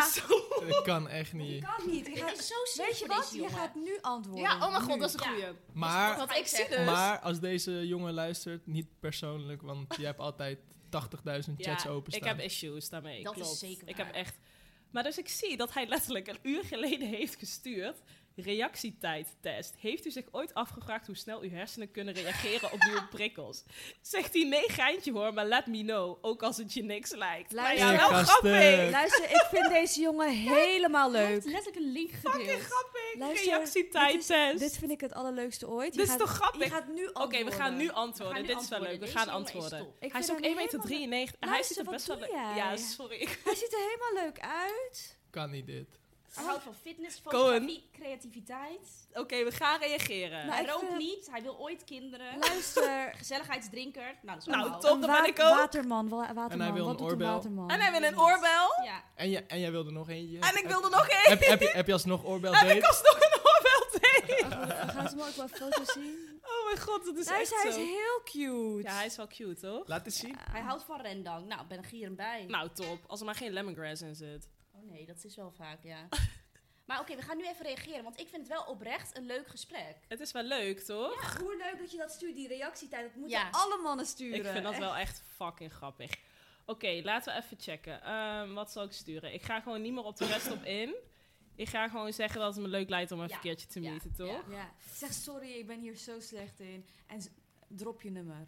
S4: Dat kan echt
S3: Dat
S4: niet.
S3: kan niet. Je
S5: Het
S3: gaat-
S5: is zo simpel,
S3: weet je wat?
S5: deze
S3: Je
S5: jongen.
S3: gaat nu antwoorden.
S2: Ja, oh mijn god,
S3: Nu.
S2: dat is een goeie.
S4: Maar
S2: Want ik zie dus...
S4: Maar als deze jongen luistert, niet persoonlijk, want je hebt altijd 80.000 chats
S2: Ik
S4: openstaan.
S2: heb issues daarmee.
S5: Dat is
S2: klopt.
S5: zeker
S2: Ik
S5: waar.
S2: heb echt. Maar dus ik zie dat hij letterlijk een uur geleden heeft gestuurd. Reactietijdtest. Heeft u zich ooit afgevraagd hoe snel uw hersenen kunnen reageren op nieuwe prikkels? Zegt hij nee, geintje hoor, maar let me know. Ook als het je niks lijkt. Maar ja,
S3: Luister.
S2: wel grappig.
S3: Luister, ik vind deze jongen helemaal
S5: Hij heeft
S3: leuk.
S5: letterlijk een link gedeeld.
S3: Luister,
S2: Reactietijdtest.
S3: Dit vind ik het allerleukste ooit. Je
S2: Dit is
S3: gaat-
S2: toch grappig?
S3: Je gaat nu
S2: Oké, we gaan nu antwoorden.
S5: gaan nu
S2: Dit is wel
S5: antwoorden.
S2: leuk. We
S5: Deze
S2: gaan
S5: jongen is
S2: antwoorden.
S5: top.
S2: hij
S3: Ik vind
S2: is ook
S3: hem
S2: 1 meter
S3: helemaal-
S2: 93. hij
S3: Luister,
S2: ziet er
S3: wat
S2: best wel
S3: doe
S2: leuk
S3: jij?
S2: Ja, sorry.
S3: Hij ziet er helemaal leuk uit.
S4: Kan niet dit.
S5: Hij houdt van fitness, fotografie, creativiteit.
S2: Oké, we gaan reageren.
S3: Nou,
S5: hij
S3: ik Nou.
S5: rookt
S3: vind-
S5: niet, hij wil ooit kinderen.
S3: Luister.
S5: Gezelligheidsdrinker. Nou, dat is
S2: Nou,
S5: allemaal.
S2: top.
S3: een
S2: dan ben
S3: wa-
S2: ik ook.
S3: Waterman. wa- waterman.
S4: En hij wil
S3: Wat
S4: een
S3: doet
S4: oorbel.
S3: waterman?
S2: en hij wil een oorbel.
S5: Ja.
S4: En, je, en jij wilde nog eentje.
S2: En ik
S4: Heb-
S2: wilde nog één.
S4: Heb, heb, je, heb je alsnog oorbel
S2: En ik
S4: deed?
S2: alsnog een oorbel tegen.
S3: Gaan ze me ook wel foto's zien?
S2: Oh mijn god, dat is
S3: Luister, hij
S2: echt
S3: is
S2: zo.
S3: heel cute.
S2: Ja, hij is wel cute, toch?
S4: Laat eens zien.
S5: Hij houdt van rendang. Nou, ben ik hier en bij.
S2: Nou, top. Als er maar geen lemongrass in zit.
S5: Oh nee, dat is wel vaak, ja. maar oké, we gaan nu even reageren, want ik vind het wel oprecht een leuk gesprek.
S2: Het is wel leuk, toch?
S3: Hoe leuk dat je dat stuurt, die reactietijd. Dat moeten
S5: Ja.
S3: alle mannen sturen.
S2: Ik vind dat wel echt fucking grappig. Oké, laten we even checken. Ehm, wat zal ik sturen? Ik ga gewoon niet meer op de rest op in. Ik ga gewoon zeggen dat het me leuk lijkt om even
S5: Ja,
S2: een keertje te
S5: ja,
S2: meten, toch?
S5: ja.
S3: Ja. Zeg sorry, ik ben hier zo slecht in. En z- drop je nummer.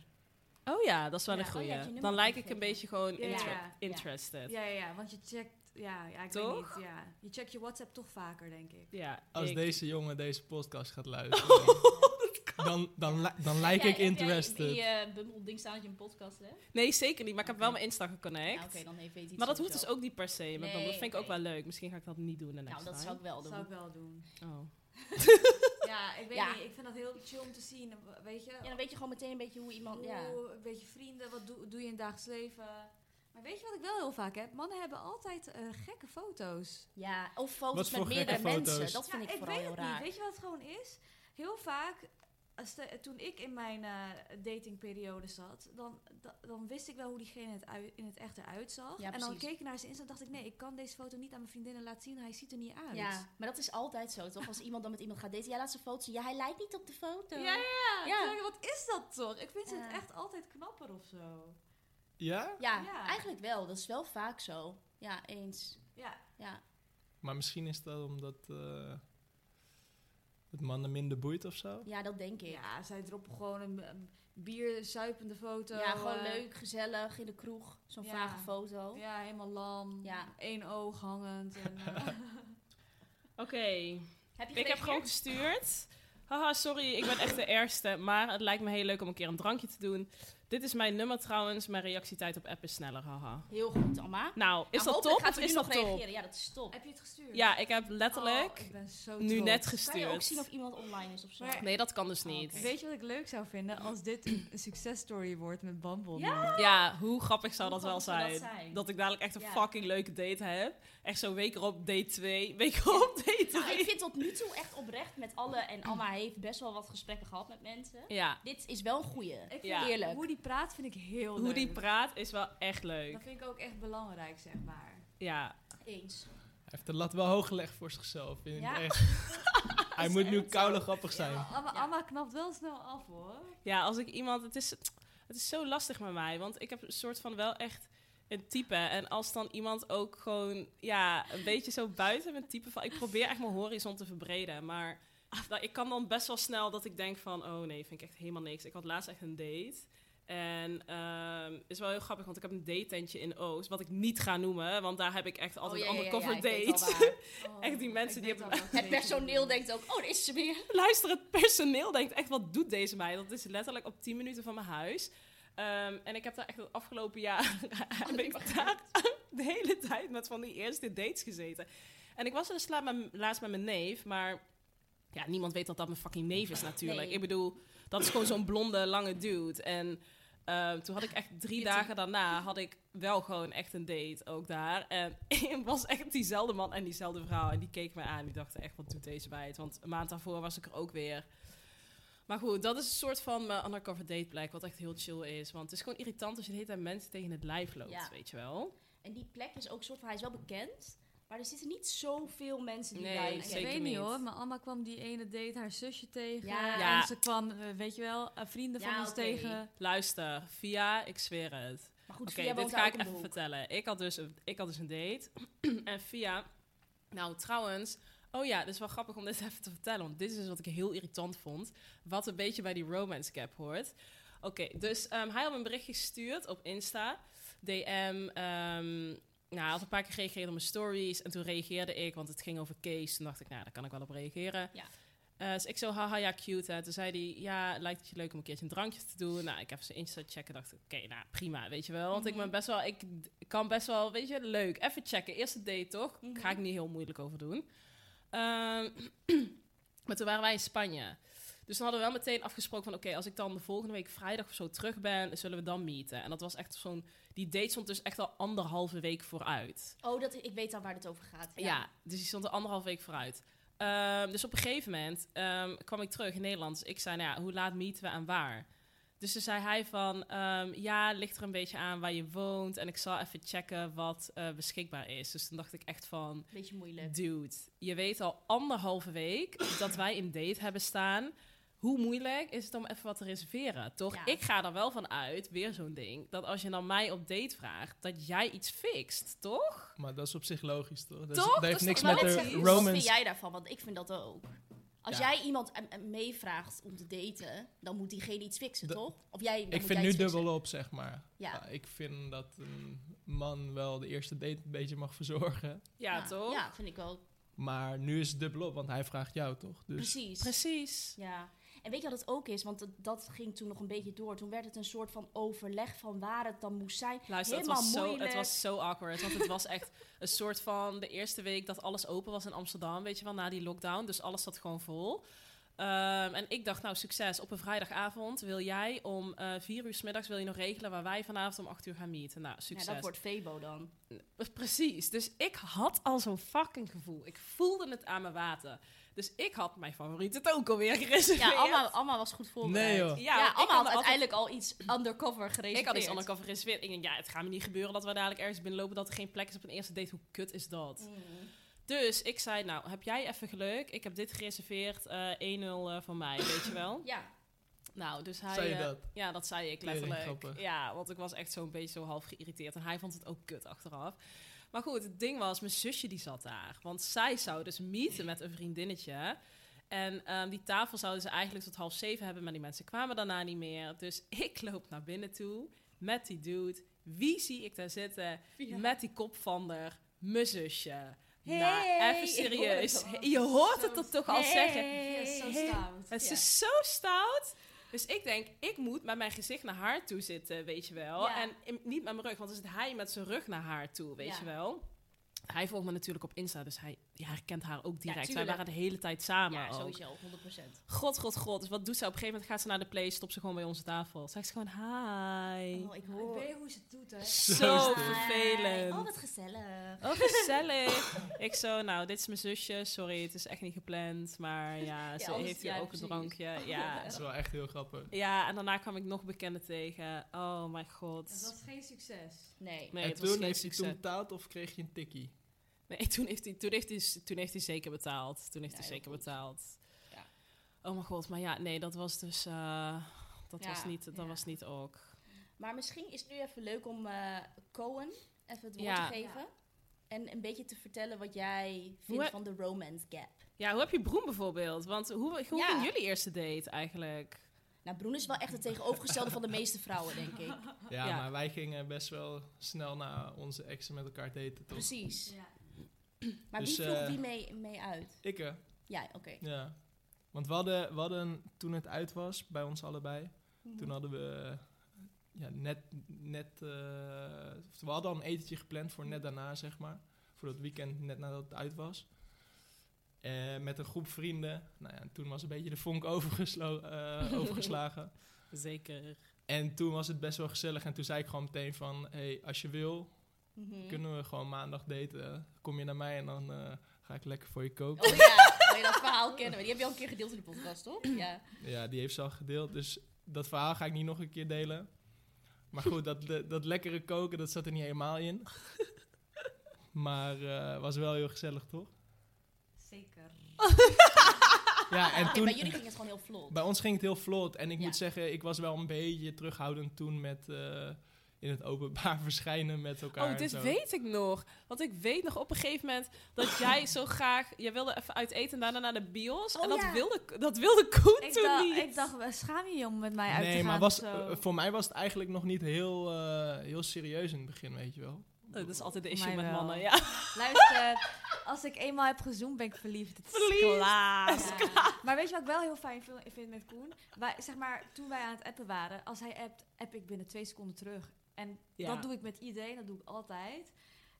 S2: Oh ja, dat is wel
S5: Ja,
S2: een
S5: oh ja,
S2: goeie.
S5: dat je nummer
S2: Dan lijk ik
S5: gegeven.
S2: een beetje gewoon
S3: Ja,
S2: inter-
S3: ja, ja.
S2: interested. Ja,
S3: Ja, ja, ja, want je checkt... Ja, ja ik
S2: Toch?
S3: weet niet. Ja. Je checkt je WhatsApp toch vaker, denk ik.
S4: Als
S2: ik-
S4: deze jongen deze podcast gaat luisteren, dan, dan, li- dan lijk
S5: Ja, heb
S4: ik
S5: jij
S4: interested.
S5: Die eh Bumble ding staan dat je een podcast hebt.
S2: Nee, zeker niet. Maar ik heb wel
S5: Oké.
S2: mijn Insta geconnect.
S5: Ja, oké, dan heeft hij iets
S2: maar dat hoeft dus
S5: sowieso.
S2: ook niet per se.
S5: Nee,
S2: Met Bumble. dat vind ik ook
S5: oké.
S2: wel leuk. Misschien ga ik dat niet doen de
S5: Nou,
S2: next
S5: dat
S2: time.
S5: zou ik wel
S3: Dat
S5: doen.
S3: zou ik wel doen.
S2: Oh.
S3: Ja, ik weet
S5: Ja.
S3: niet. Ik vind dat heel chill om te zien. Weet je?
S5: Ja, dan weet je gewoon meteen een beetje hoe iemand... Ja.
S3: Hoe- Een beetje vrienden. Wat doe, doe je in het dagelijks leven? Maar weet je wat ik wel heel vaak heb? Mannen hebben altijd eh, gekke foto's.
S5: ja, of foto's
S4: Wat voor
S5: met meerdere
S4: gekke foto's?
S5: mensen. Dat vind ik vooral
S3: weet
S5: heel
S3: het
S5: raar.
S3: niet. Weet je wat het gewoon is? Heel vaak, als de- toen ik in mijn eh, datingperiode zat, dan, da- dan wist ik wel hoe diegene het ui- in het echt eruit zag.
S5: Ja,
S3: en dan
S5: precies.
S3: keek ik naar zijn Insta en dacht ik, nee, ik kan deze foto niet aan mijn vriendinnen laten zien. Hij ziet er niet uit.
S5: Ja, maar dat is altijd zo, toch? Als iemand dan met iemand gaat daten, ja, laat ze foto's zien. Ja, hij lijkt niet op de foto.
S3: Ja, ja, ja.
S5: Ja.
S3: Terwijl, Wat is dat toch? Ik vind ze het
S5: Ja.
S3: echt altijd knapper of zo.
S4: Ja?
S5: Ja,
S3: Ja.
S5: eigenlijk wel. Dat is wel vaak zo. Ja, eens.
S3: Ja,
S5: Ja,
S4: Maar misschien is dat omdat eh, het mannen minder boeit of zo?
S5: ja dat denk ik. Ja,
S3: ja zij droppen gewoon een, een bierzuipende foto.
S5: gewoon
S3: eh,
S5: leuk, gezellig, in de kroeg. Zo'n
S3: ja.
S5: vage foto.
S3: Ja, helemaal lam.
S5: Ja.
S3: Eén oog hangend. En, eh,
S2: Oké.
S5: Heb je
S2: Ik
S5: gereageerd?
S2: heb gewoon gestuurd. Haha, sorry, ik ben echt de ergste. Maar het lijkt me heel leuk om een keer een drankje te doen. Dit is mijn nummer trouwens. Mijn reactietijd op app is sneller, haha.
S5: Heel goed, Alma.
S2: Nou,
S5: Nou,
S2: is dat
S5: hopelijk
S2: top
S5: Gaat
S2: of
S5: ze
S2: is
S5: nu
S2: dat
S5: nog
S2: top?
S5: reageren? Ja, dat is top.
S3: heb je het gestuurd?
S2: Ja, ik heb letterlijk
S3: Oh, ik ben zo
S2: nu
S3: trots.
S2: net
S5: Kan je ook zien of
S2: gestuurd.
S5: iemand online is of zo?
S3: Maar-
S2: Nee, dat kan dus niet.
S5: oké.
S3: Weet je wat ik leuk zou vinden als dit een een successtory wordt met Bumble?
S5: Ja.
S3: nu?
S2: Ja, hoe grappig zou
S5: Hoe
S2: dat wel
S5: grappig zou dat
S2: zijn?
S5: zijn?
S2: Dat ik dadelijk echt een
S5: Ja.
S2: fucking leuke date heb. Echt zo week erop date 2, week erop date
S5: Nou, ik
S2: 3.
S5: vind tot nu toe echt oprecht met alle... En Alma heeft best wel wat gesprekken gehad met mensen.
S2: Ja,
S5: Dit is wel een goeie.
S3: Ik vind
S2: Ja.
S5: Heerlijk.
S3: Hoe die praat vind ik heel leuk.
S2: hoe die praat is wel echt leuk.
S3: Dat vind ik ook echt belangrijk, zeg maar.
S2: Ja,
S5: Eens.
S4: Hij heeft de lat wel hoog gelegd voor zichzelf. In het
S5: Ja.
S4: echt. Hij moet nu koude grappig zijn.
S3: Amma,
S5: Ja.
S3: Amma knapt wel snel af hoor.
S2: Ja, als ik iemand. Het is, het is zo lastig met mij, want ik heb een soort van wel echt een type. En als dan iemand ook gewoon, ja, een beetje zo buiten mijn type van. Ik probeer echt mijn horizon te verbreden, maar
S5: Ah.
S2: nou, ik kan dan best wel snel dat ik denk van, oh nee, vind ik echt helemaal niks. Ik had laatst echt een date. En ehm is wel heel grappig, want ik heb een date-tentje in Oost, wat ik niet ga noemen, want daar heb ik echt altijd
S5: Oh, ja, ja, ja,
S2: undercover
S5: ja, ik weet wel
S2: dates.
S5: waar.
S3: Oh,
S2: Echt die mensen die hebben-
S5: Het personeel denkt ook, oh, daar is ze weer.
S2: Luister, het personeel denkt echt, wat doet deze meid? Dat is letterlijk op 10 minuten van mijn huis. Ehm, en ik heb daar echt het afgelopen jaar heb ik daar de hele tijd met van die eerste dates gezeten. En ik was dus laat met- laatst met mijn neef, maar ja, niemand weet dat dat mijn fucking neef is natuurlijk.
S5: Nee.
S2: Ik bedoel, dat is gewoon zo'n blonde, lange dude. En ehm, toen had ik echt drie dagen daarna, had ik wel gewoon echt een date ook daar. En was echt diezelfde man en diezelfde vrouw. En die keek me aan, die dachten echt, wat doet deze meid? Want een maand daarvoor was ik er ook weer. Maar goed, dat is een soort van mijn undercover dateplek, wat echt heel chill is. Want het is gewoon irritant als je de hele tijd mensen tegen het lijf loopt,
S5: Ja.
S2: weet je wel.
S5: En die plek is ook soort van, hij is wel bekend, maar er zitten niet zoveel mensen die
S2: Nee,
S5: daar
S2: zeker.
S3: Ik
S5: kennen.
S3: weet niet
S2: niet.
S3: hoor, maar Amma kwam die ene date haar zusje tegen.
S5: Ja.
S2: Ja.
S3: En ze kwam, eh, weet je wel, eh, vrienden van
S5: Ja,
S3: ons
S5: oké.
S3: tegen.
S2: Luister, via, ik zweer het.
S5: Maar goed,
S2: Oké,
S5: Via woont
S2: dit
S5: daar
S2: ga
S5: ook
S2: ik
S5: om de
S2: even
S5: hoek.
S2: vertellen. Ik had, dus een, ik had dus een date. en via... Nou, trouwens, Oh ja, dus wel grappig om dit even te vertellen. Want dit is dus wat ik heel irritant vond. Wat een beetje bij die romance cap hoort. Oké, dus ehm, hij had een bericht gestuurd op Insta. DM. ehm, nou, hij had een paar keer gereageerd op mijn stories. En toen reageerde ik, want het ging over Kees. Toen dacht ik, nou, daar kan ik wel op reageren.
S5: Ja.
S2: Eh, dus ik zo, haha, ja, cute. Hè. Toen zei hij, ja, lijkt het je leuk om een keertje een drankje te doen. Nou, ik heb zijn Insta checken. dacht ik, oké, nou, prima, weet je wel. Want ik ben best wel, ik d- kan best wel, weet je, leuk. Even checken, eerste date toch? Ga ik niet heel moeilijk over doen. Ehm, maar toen waren wij in Spanje. Dus dan hadden we wel meteen afgesproken van... oké, als ik dan de volgende week vrijdag of zo terug ben... zullen we dan meeten. En dat was echt zo'n... die date stond dus echt al anderhalve week vooruit.
S5: Oh, dat, ik weet al waar het over gaat.
S2: Ja, dus die stond er anderhalve week vooruit. Ehm, dus op een gegeven moment ehm, kwam ik terug in Nederland. Dus ik zei, nou ja, hoe laat meeten we en waar? Dus toen zei hij van, ehm, ja, ligt er een beetje aan waar je woont... en ik zal even checken wat eh, beschikbaar is. Dus toen dacht ik echt van...
S5: Beetje moeilijk.
S2: Dude, je weet al anderhalve week dat wij een date hebben staan. Hoe moeilijk is het om even wat te reserveren, toch?
S5: Ja.
S2: Ik ga er wel van uit, weer zo'n ding, dat als je dan mij op date vraagt, dat jij iets fixt, toch?
S4: Maar dat is op zich logisch, toch? Dat,
S2: Toch?
S4: Is, dat
S2: Dat
S4: heeft
S2: is
S4: niks
S2: toch
S4: met
S2: wel
S4: de
S2: logisch?
S5: Wat vind
S4: romance...
S5: jij daarvan? Want ik vind dat ook. Als
S4: Ja.
S5: jij iemand eh, eh, meevraagt om te daten, dan moet diegene iets fixen,
S4: Dat-
S5: toch? Of jij, dan
S4: Ik
S5: moet
S4: vind
S5: jij
S4: nu
S5: iets fixen.
S4: dubbelop, zeg maar.
S5: Ja.
S4: Ah, ik vind dat een man wel de eerste date een beetje mag verzorgen.
S2: Ja, toch?
S5: Nou, Ja, vind ik wel.
S4: Dus- Maar nu is het dubbelop, want hij vraagt jou, toch? Dus
S5: Precies.
S2: Precies.
S5: Ja. En weet je wat het ook is? Want dat, dat ging toen nog een beetje door. Toen werd het een soort van overleg van waar het dan moest zijn.
S2: Luister, het
S5: Helemaal
S2: was, zo, het
S5: moeilijk.
S2: was zo awkward. Want het was echt een soort van de eerste week dat alles open was in Amsterdam. Weet je wel, na die lockdown. Dus alles zat gewoon vol. Ehm, en ik dacht, nou, succes. Op een vrijdagavond wil jij om eh vier uur 's middags wil je nog regelen waar wij vanavond om acht uur gaan meeten. Nou,
S5: Ja,
S2: succes.
S5: dat wordt Febo dan.
S2: Precies. Dus ik had al zo'n fucking gevoel. Ik voelde het aan mijn water. Dus ik had mijn favoriete het ook alweer gereserveerd.
S5: Ja, Alma, Alma was goed voorbereid.
S4: Nee, joh.
S5: Ja,
S2: Ja, want ik
S5: Alma had
S2: altijd-
S5: uiteindelijk al iets undercover gereserveerd.
S2: Ik had iets undercover gereserveerd. Ik denk, ja, het gaat me niet gebeuren dat we dadelijk ergens binnenlopen dat er geen plek is op een eerste date. Hoe kut is dat?
S5: Mm.
S2: Dus ik zei, nou, heb jij even geluk? Ik heb dit gereserveerd. eh, 1-0 eh, van mij, weet je wel?
S5: Ja,
S2: Nou, dus hij...
S4: Zei je
S2: eh,
S4: dat?
S2: Ja, dat zei ik
S4: Tering
S2: letterlijk.
S4: grappig.
S2: Ja, want ik was echt zo'n beetje zo half geïrriteerd. En hij vond het ook kut achteraf. Maar goed, het ding was, mijn zusje die zat daar. Want zij zou dus meeten met een vriendinnetje. En ehm, die tafel zouden ze eigenlijk tot half zeven hebben. Maar die mensen kwamen daarna niet meer. Dus ik loop naar binnen toe met die dude. Wie zie ik daar zitten? Met die kop van der, mijn zusje.
S5: Hey,
S2: nou, even
S5: ik hoor het
S2: serieus.
S5: al.
S2: Je hoort het er toch al zeggen.
S3: Yes, zo
S2: Hey.
S3: stout.
S2: Het
S5: Ja.
S2: is zo stout. Dus ik denk, ik moet met mijn gezicht naar haar toe zitten, weet je wel.
S5: Ja.
S2: En in- niet met mijn rug, want dan zit hij met zijn rug naar haar toe, weet
S5: Ja.
S2: je wel. Hij volgt me natuurlijk op Insta, dus hij ja, herkent haar ook direct. Wij
S5: tuurlijk.
S2: waren de hele tijd samen.
S5: ja
S2: ook.
S5: sowieso, 100%.
S2: God, god, god. Dus wat doet ze? Op een gegeven moment gaat ze naar de play, stopt ze gewoon bij onze tafel. Zegt ze gewoon, hi.
S5: Oh, ik
S3: Ik
S5: hoor.
S3: weet hoe ze het doet, hè.
S2: zo
S4: Hi.
S2: vervelend.
S5: Oh, wat gezellig.
S2: Oh, gezellig. ik zo, nou, dit is mijn zusje. Sorry, het is echt niet gepland. Maar ja, ze
S5: alles-
S2: heeft hier
S5: ja,
S2: ook
S5: precies.
S2: een drankje. Ja,
S4: Dat is wel echt heel grappig.
S2: Ja, en daarna kwam ik nog bekenden tegen. Oh mijn
S3: Het
S2: god.
S3: was geen succes.
S5: Nee.
S2: Nee,
S4: en
S2: het was
S4: toen
S2: geen
S4: heeft hij toen
S2: succes.
S4: betaald of kreeg je een tikkie?
S2: Nee, toen heeft hij, toen heeft hij, toen heeft hij zeker betaald. Toen heeft
S5: Ja,
S2: hij
S5: heel
S2: zeker
S5: goed.
S2: betaald.
S5: Ja.
S2: Oh mijn god, maar ja, nee, dat was dus... eh, dat
S5: Ja,
S2: was niet, dat
S5: ja.
S2: was niet ook.
S5: Maar misschien is het nu even leuk om eh, Cohen even het woord
S2: Ja.
S5: te geven.
S3: Ja.
S5: En een beetje te vertellen wat jij
S2: Hoe
S5: vindt
S2: he-
S5: van de romance gap.
S2: Ja, hoe heb je Broen bijvoorbeeld? Want hoe, hoe
S5: Ja.
S2: ging jullie eerste date eigenlijk?
S5: Nou, Broen is wel echt het tegenovergestelde van de meeste vrouwen, denk ik.
S4: Ja,
S2: Ja.
S4: maar wij gingen best wel snel na onze exen met elkaar daten, toch?
S5: Precies.
S3: Ja.
S5: Maar
S4: Dus,
S5: wie vroeg
S4: eh,
S5: wie mee, mee uit?
S4: Ik, hè?
S5: Ja, oké.
S4: Ja. Want we hadden, we hadden, toen het uit was, bij ons allebei, toen hadden we ja, net, net eh, we hadden al een etentje gepland voor net daarna, zeg maar. Voor dat weekend, net nadat het uit was. Eh, met een groep vrienden. Nou ja, en toen was een beetje de vonk overgeslo- eh, overgeslagen.
S2: Zeker.
S4: En toen was het best wel gezellig. En toen zei ik gewoon meteen van... hey, als je wil,
S5: Mhm.
S4: kunnen we gewoon maandag daten. Kom je naar mij en dan eh, ga ik lekker voor je koken.
S5: Oh ja, oh, ja, dat verhaal kennen we. Die heb je al een keer gedeeld in de podcast, toch? Ja.
S4: Ja, die heeft ze al gedeeld. Dus dat verhaal ga ik niet nog een keer delen. Maar goed, dat, le- dat lekkere koken, dat zat er niet helemaal in. Maar eh, was wel heel gezellig, toch?
S3: Zeker.
S4: Ja, en
S5: Oké,
S4: toen...
S5: Bij jullie ging het gewoon heel vlot.
S4: Bij ons ging het heel vlot. En ik
S5: Ja.
S4: moet zeggen, ik was wel een beetje terughoudend toen met... eh, in het openbaar verschijnen met elkaar.
S2: Oh,
S4: en
S2: dit
S4: zo.
S2: weet ik nog. Want ik weet nog op een gegeven moment dat jij zo graag... Jij wilde even uit eten en daarna naar de bios.
S7: Oh,
S2: en dat,
S7: ja.
S2: wilde, dat wilde Koen
S3: Ik,
S2: toen
S3: dacht,
S2: niet.
S3: ik dacht, eh, schaam je je om met mij uit te
S4: Nee,
S3: gaan?
S4: maar
S3: of
S4: was,
S3: zo?
S4: eh, voor mij was het eigenlijk nog niet heel, eh, heel serieus in het begin, weet je wel.
S2: Oh, dat is altijd de
S3: Voor
S2: issue
S3: mij
S2: met
S3: wel.
S2: mannen, ja.
S3: Luister, als ik eenmaal heb gezoomd, ben ik verliefd. Het is
S2: Verliefd.
S3: klaar.
S7: Ja.
S3: Maar weet je wat ik wel heel fijn vil- vind met Koen? Wij, zeg maar, toen wij aan het appen waren, als hij appt, app ik binnen twee seconden terug. En
S2: Ja.
S3: dat doe ik met iedereen, dat doe ik altijd.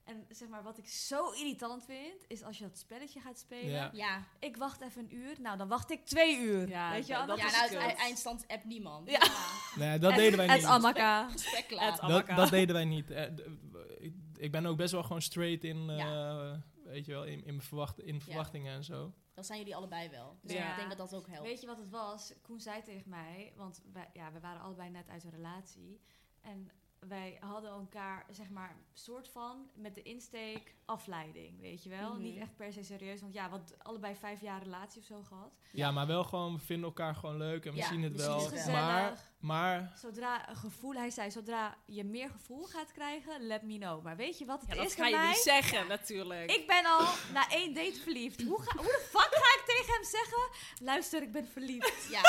S3: En zeg maar, wat ik zo irritant vind, is als je dat spelletje gaat spelen.
S4: Ja.
S7: Ja,
S3: Ik wacht even een uur, nou dan wacht ik twee uur.
S2: Ja,
S3: weet je,
S2: dat-
S3: anders
S7: ja
S2: is
S7: nou,
S2: kut.
S7: het eindstand app niemand.
S2: Ja.
S4: Nee, Nou dat deden wij
S3: Het
S4: niet.
S3: Amaka.
S7: Gesprek
S2: Het
S7: klaar.
S4: Dat,
S2: Amaka.
S4: dat deden wij niet. Eh, d- w- ik- Ik ben ook best wel gewoon straight in, eh, weet je wel, in, in, mijn verwacht, in verwachtingen en zo.
S7: Dan zijn jullie allebei wel. Dus
S2: Ja.
S7: ik denk dat dat ook helpt.
S3: Weet je wat het was? Koen zei tegen mij, want wij, ja, we waren allebei net uit een relatie. En wij hadden elkaar, zeg maar, soort van met de insteek afleiding, weet je wel?
S7: Mhm.
S3: Niet echt per se serieus, want ja, wat allebei vijf jaar relatie of zo gehad. Dus
S4: Ja, maar wel gewoon, we vinden elkaar gewoon leuk en we
S7: Ja,
S4: zien het
S7: we
S3: Het
S7: zien
S4: wel.
S3: is
S7: het
S3: gezellig.
S7: wel.
S4: Maar, maar
S3: Zodra een gevoel, hij zei, zodra je meer gevoel gaat krijgen, let me know. Maar weet je wat het
S2: Ja, dat
S3: is
S2: ga
S3: met
S2: je niet
S3: mij?
S2: zeggen, natuurlijk.
S3: Ik ben al na één date verliefd. Hoe, ga, hoe de fuck ga ik tegen hem zeggen? Luister, ik ben verliefd.
S7: Ja,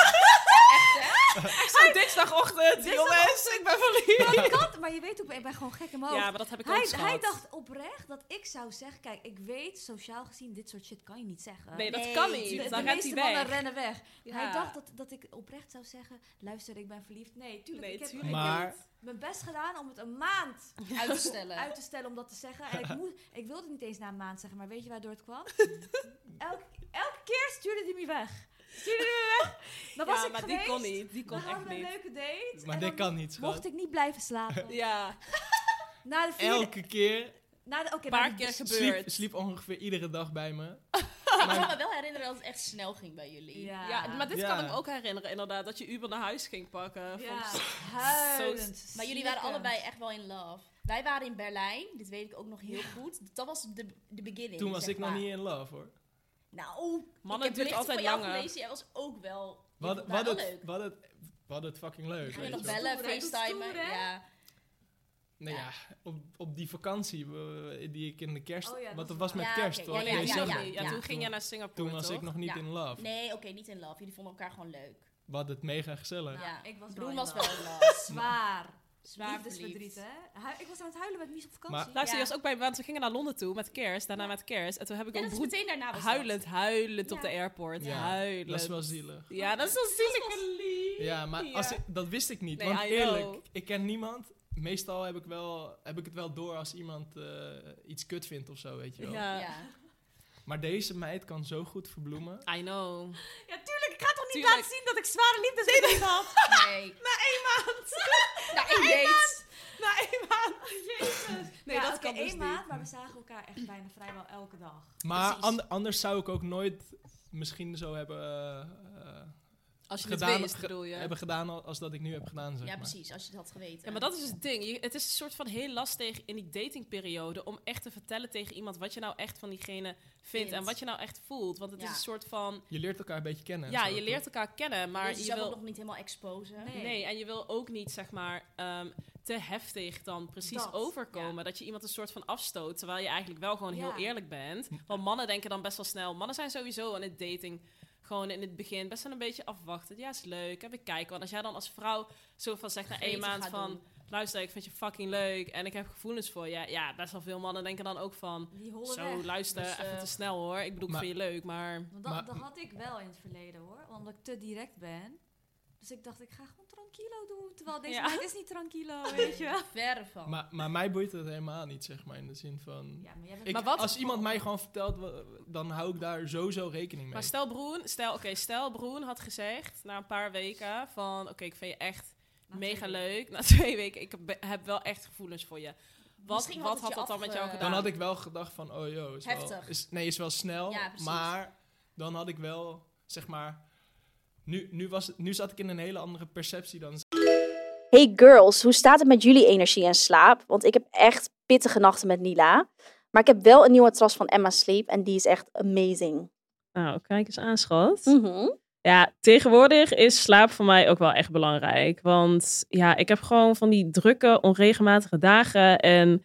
S2: Zo dinsdagochtend, jongens, ik ben verliefd.
S3: Dat kan, maar je weet ook, ik ben gewoon gek in mijn hoofd.
S2: Ja, maar dat heb ik ook
S3: Oh. Hij,
S2: gehad.
S3: hij dacht oprecht dat ik zou zeggen: Kijk, ik weet sociaal gezien, dit soort shit kan je niet zeggen.
S2: Nee, dat
S7: Nee,
S2: kan
S3: De-
S2: niet.
S3: de
S2: Dan rent
S3: meeste
S2: hij
S3: mannen
S2: weg.
S3: rennen weg.
S2: Ja.
S3: Hij dacht dat, dat ik oprecht zou zeggen: Luister, ik ben verliefd. Nee, tuurlijk.
S2: Nee,
S3: ik, heb,
S2: tuurlijk.
S3: ik heb
S4: Maar-
S3: mijn best gedaan om het een maand
S2: Eh.
S7: uitstellen.
S3: uit te stellen om dat te zeggen. En ik, moest, ik wilde het niet eens na een maand zeggen, maar weet je waardoor het kwam? Elk, elke keer stuurde hij me weg. Stuurde hij me weg. Dan was
S2: ja,
S3: ik
S2: maar
S3: geweest.
S2: die kon niet. Die kon
S3: we
S2: echt
S3: hadden een
S2: niet.
S3: leuke date.
S4: Maar
S3: en
S4: dit
S3: dan
S4: kan niet, schat.
S3: Mocht ik niet blijven slapen.
S2: Ja,
S3: Na de vierde,
S4: elke keer
S3: na de, oké,
S2: een
S3: na
S2: paar
S3: de-
S2: keer
S4: sliep,
S2: gebeurd.
S4: sliep ongeveer iedere dag bij me.
S7: Ik kan me wel herinneren dat het echt snel ging bij jullie.
S3: Ja.
S2: Ja, maar dit
S4: Ja.
S2: kan ik me ook herinneren, inderdaad. Dat je Uber naar huis ging pakken.
S3: Ja,
S2: Volgens-
S3: huilend.
S7: Maar jullie waren
S3: snikkend.
S7: allebei echt wel in love. Wij waren in Berlijn, dit weet ik ook nog heel goed. Dat was de, de beginning.
S4: Toen was
S7: zeg
S4: ik nog
S7: maar.
S4: niet in love, hoor.
S7: Nou,
S2: Mannen,
S7: ik
S2: het duurt
S7: heb berichten
S2: altijd
S7: van jou
S2: langer.
S7: gelezen. Jij was ook wel.
S4: Wat,
S7: je vond
S4: wat,
S7: mij
S4: het,
S7: nou wel leuk.
S4: Wat, het, wat het fucking leuk,
S7: Ging je
S4: weet
S7: nog
S4: je wel.
S7: bellen,
S3: Stoer, hè?
S7: FaceTime.
S3: Stoer, hè?
S7: Ja.
S4: Nou ja, op, op die vakantie eh, die ik in de kerst...
S3: Oh ja, dat
S4: want dat
S3: was
S4: was met
S7: waar. Ja,
S4: kerst,
S7: oké,
S4: hoor.
S7: ja,
S4: in
S7: ja,
S4: december.
S7: ja,
S2: toen
S7: ja.
S2: ging
S4: Toen-
S2: jij naar Singapore,
S4: Toen was
S2: toch?
S4: ik nog niet
S7: Ja.
S4: in love.
S7: Nee, oké, niet in love. Jullie vonden elkaar gewoon leuk.
S4: Wat het mega gezellig.
S3: Nou,
S7: Ja.
S3: ik was
S7: Bloem
S3: wel
S7: was
S3: in love.
S7: wel in love.
S3: Zwaar.
S7: Zwaar
S3: Liefdesverdriet,
S7: verliefd.
S3: hè? Hu- ik was aan het huilen met Mies op vakantie.
S4: Maar-
S2: Luister,
S7: Ja.
S2: je was ook bij, want we gingen naar Londen toe met kerst, daarna met kerst. En toen heb ik
S7: Ja,
S2: een
S7: dat is
S2: broer
S7: meteen daarna was dat.
S2: huilend, huilend op de
S7: Ja.
S2: airport.
S4: Ja,
S2: Huilend.
S4: Dat is wel zielig.
S2: Ja, dat is wel zielig. lief.
S4: Ja, maar Als
S2: Ja.
S4: ik, dat wist ik niet.
S2: Nee,
S4: want
S2: I know.
S4: eerlijk, ik ken niemand. Meestal heb ik, wel, heb ik het wel door als iemand eh, iets kut vindt of zo, weet je wel.
S2: Ja.
S7: Ja.
S4: Maar deze meid kan zo goed verbloemen.
S2: I know.
S3: Ja, tuurlijk. Ik ga
S4: Nou,
S3: toch niet
S2: Tuurlijk.
S3: laten zien dat ik zware liefdesverdriet had?
S7: Nee.
S2: Maand!
S7: Nou, ik weet.
S2: Na één maand! Oh, Jezus! Nee,
S3: Ja,
S2: dat
S3: oké,
S2: kan dus
S3: één
S2: niet.
S3: maand, maar we zagen elkaar echt bijna vrijwel elke dag.
S4: Maar
S7: Precies.
S4: an- anders zou ik ook nooit misschien zo hebben, eh, eh,
S2: Als je
S4: gedaan,
S2: het wist,
S4: ge-
S2: bedoel je.
S4: hebben gedaan al- als dat ik nu heb gedaan, zeg
S7: Ja,
S4: maar.
S7: precies. Als je het had geweten.
S2: Ja, maar dat is dus het ding. Je- het is een soort van heel lastig in die datingperiode om echt te vertellen tegen iemand wat je nou echt van diegene vindt
S7: Vindt.
S2: en wat je nou echt voelt. Want het
S7: Ja.
S2: is een soort van,
S4: Je leert elkaar een beetje kennen. en
S2: ja,
S4: zo,
S2: je
S4: toch?
S2: leert elkaar kennen, maar
S7: Dus je
S2: je
S7: zou het nog
S2: wil...
S7: niet helemaal exposen.
S3: Nee.
S2: Nee, en je wil ook niet, zeg maar, ehm, te heftig dan precies
S3: Dat,
S2: overkomen. Dat je iemand een soort van afstoot, terwijl je eigenlijk wel gewoon heel
S3: Ja.
S2: eerlijk bent. Want mannen denken dan best wel snel, mannen zijn sowieso aan het dating gewoon in het begin best wel een beetje afwachten. Ja, is leuk, en we kijken. Want als jij dan als vrouw zo van zegt na één
S7: Vergeten
S2: maand
S7: gaat
S2: van...
S7: doen.
S2: luister, ik vind je fucking leuk en ik heb gevoelens voor je. Ja, best wel veel mannen denken dan ook van,
S3: Die hollen
S2: zo,
S3: weg.
S2: luister,
S7: Dus, eh,
S2: even te snel hoor. Ik bedoel,
S4: maar-
S2: ik vind je leuk, maar...
S3: Want dat,
S4: Maar-
S3: dat had ik wel in het verleden, hoor. Omdat ik te direct ben. Dus ik dacht, ik ga gewoon tranquilo doen. Terwijl deze
S2: Ja.
S3: meid is niet tranquilo, weet je wel.
S7: Ver van.
S4: Maar, maar mij boeit het helemaal niet, zeg maar. In de zin van...
S3: Ja, maar jij bent
S4: Ik,
S2: Maar wat-
S4: Als iemand mij gewoon vertelt, wa- dan hou ik daar sowieso rekening mee.
S2: Maar stel Broen, stel, oké, stel Broen had gezegd na een paar weken van, oké, ik vind je echt
S3: Na twee
S2: mega
S3: weken.
S2: leuk. Na twee weken, ik heb, heb wel echt gevoelens voor je. Wat,
S7: Misschien had
S2: wat
S7: het
S2: had
S7: je
S2: dat dan met jou
S7: afge-
S2: gedaan?
S4: dan had ik wel gedacht van, oh joh, is wel,
S7: Heftig.
S4: is, nee, is wel snel.
S7: Ja, precies.
S4: maar dan had ik wel, zeg maar, nu, nu, was, het- nu zat ik in een hele andere perceptie dan.
S9: Hey girls, hoe staat het met jullie energie en slaap? Want ik heb echt pittige nachten met Nila. Maar ik heb wel een nieuwe matras van Emma Sleep en die is echt amazing.
S10: Nou, kijk eens aan, schat.
S9: Mhm.
S2: Ja, tegenwoordig is slaap voor mij ook wel echt belangrijk. Want ja, ik heb gewoon van die drukke, onregelmatige dagen. En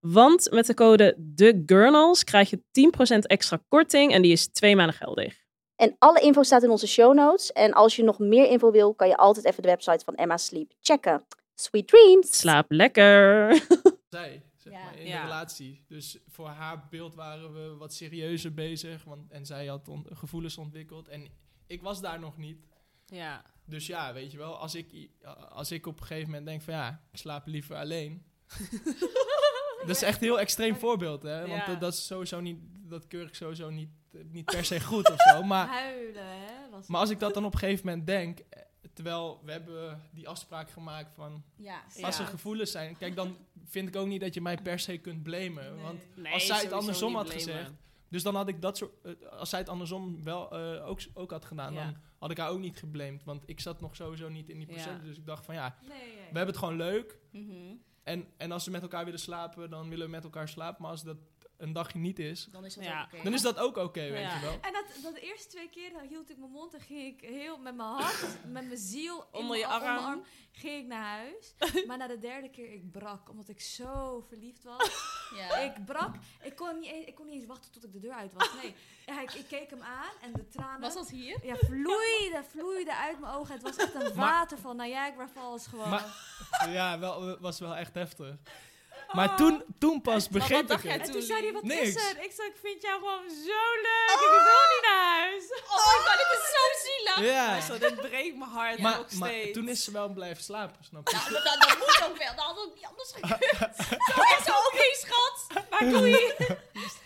S2: Want met de code TheGurnals krijg je 10% extra korting en die is twee maanden geldig.
S5: En alle info staat in onze show notes. En als je nog meer info wil, kan je altijd even de website van Emma Sleep checken. Sweet dreams!
S2: Slaap lekker.
S4: zij, zeg
S7: Ja.
S4: maar, in
S2: Ja.
S4: de relatie. Dus voor haar beeld waren we wat serieuzer bezig. Want, en zij had on- gevoelens ontwikkeld. En ik was daar nog niet.
S2: Ja.
S4: Dus ja, weet je wel, als ik, i- als ik op een gegeven moment denk van ja, ik slaap liever alleen. dat is echt een heel extreem voorbeeld, hè? Want
S2: Ja.
S4: dat, dat is sowieso niet, dat keur ik sowieso niet, eh, niet per se goed of zo. Maar
S3: Huilen, hè? Was
S4: Maar als ik dat dan op een gegeven moment denk, eh, terwijl we hebben die afspraak gemaakt van
S7: Ja,
S4: als er gevoelens zijn, kijk dan vind ik ook niet dat je mij per se kunt blamen, want Als zij het
S2: sowieso
S4: andersom
S2: niet
S4: had
S2: blamen.
S4: gezegd. Dus dan had ik dat soort, eh, als zij het andersom wel eh, ook, ook had gedaan,
S2: Ja.
S4: dan had ik haar ook niet geblamed, want ik zat nog sowieso niet in die
S2: Ja.
S4: processen. Dus ik dacht van ja,
S3: Nee,
S4: we hebben het gewoon leuk
S7: Mhm.
S4: en, en als we met elkaar willen slapen, dan willen we met elkaar slapen. Maar als dat een dagje niet is,
S7: dan is dat
S2: Ja.
S7: ook oké.
S4: dan is dat ook oké, weet
S2: Ja.
S4: je wel.
S3: En dat, dat de eerste twee keer dan hield ik mijn mond en ging ik heel met mijn hart, met mijn ziel in
S2: Onder je
S3: mijn-
S2: arm.
S3: mijn ging ik naar huis. Maar na de derde keer ik brak, omdat ik zo verliefd was.
S7: Ja.
S3: Ik brak. Ik kon niet, eens- ik kon niet eens wachten tot ik de deur uit was. Nee, Ja, ik, ik keek hem aan en de tranen.
S7: Was dat hier?
S3: Ja, vloeide, vloeide uit mijn ogen. Het was echt een
S4: Maar-
S3: water van Niagara Falls gewoon.
S4: Maar- Ja, wel, eh, was wel echt heftig. Maar toen, toen pas begreep
S2: Ah. dacht
S4: ik
S2: jij
S4: het.
S3: en toen zei hij, wat
S4: Niks.
S3: is er? Ik zei, ik vind jou gewoon zo leuk. Ik wil niet naar huis.
S7: Oh my god, dit is zo zielig.
S4: Ja.
S2: dat breekt mijn hart
S4: Maar, maar toen is ze wel blijven slapen, snap je?
S7: Nou, dat, dat, dat moet ook wel. Dat had ook niet anders gekund. Zo echt zo, oké schat. Maar doei.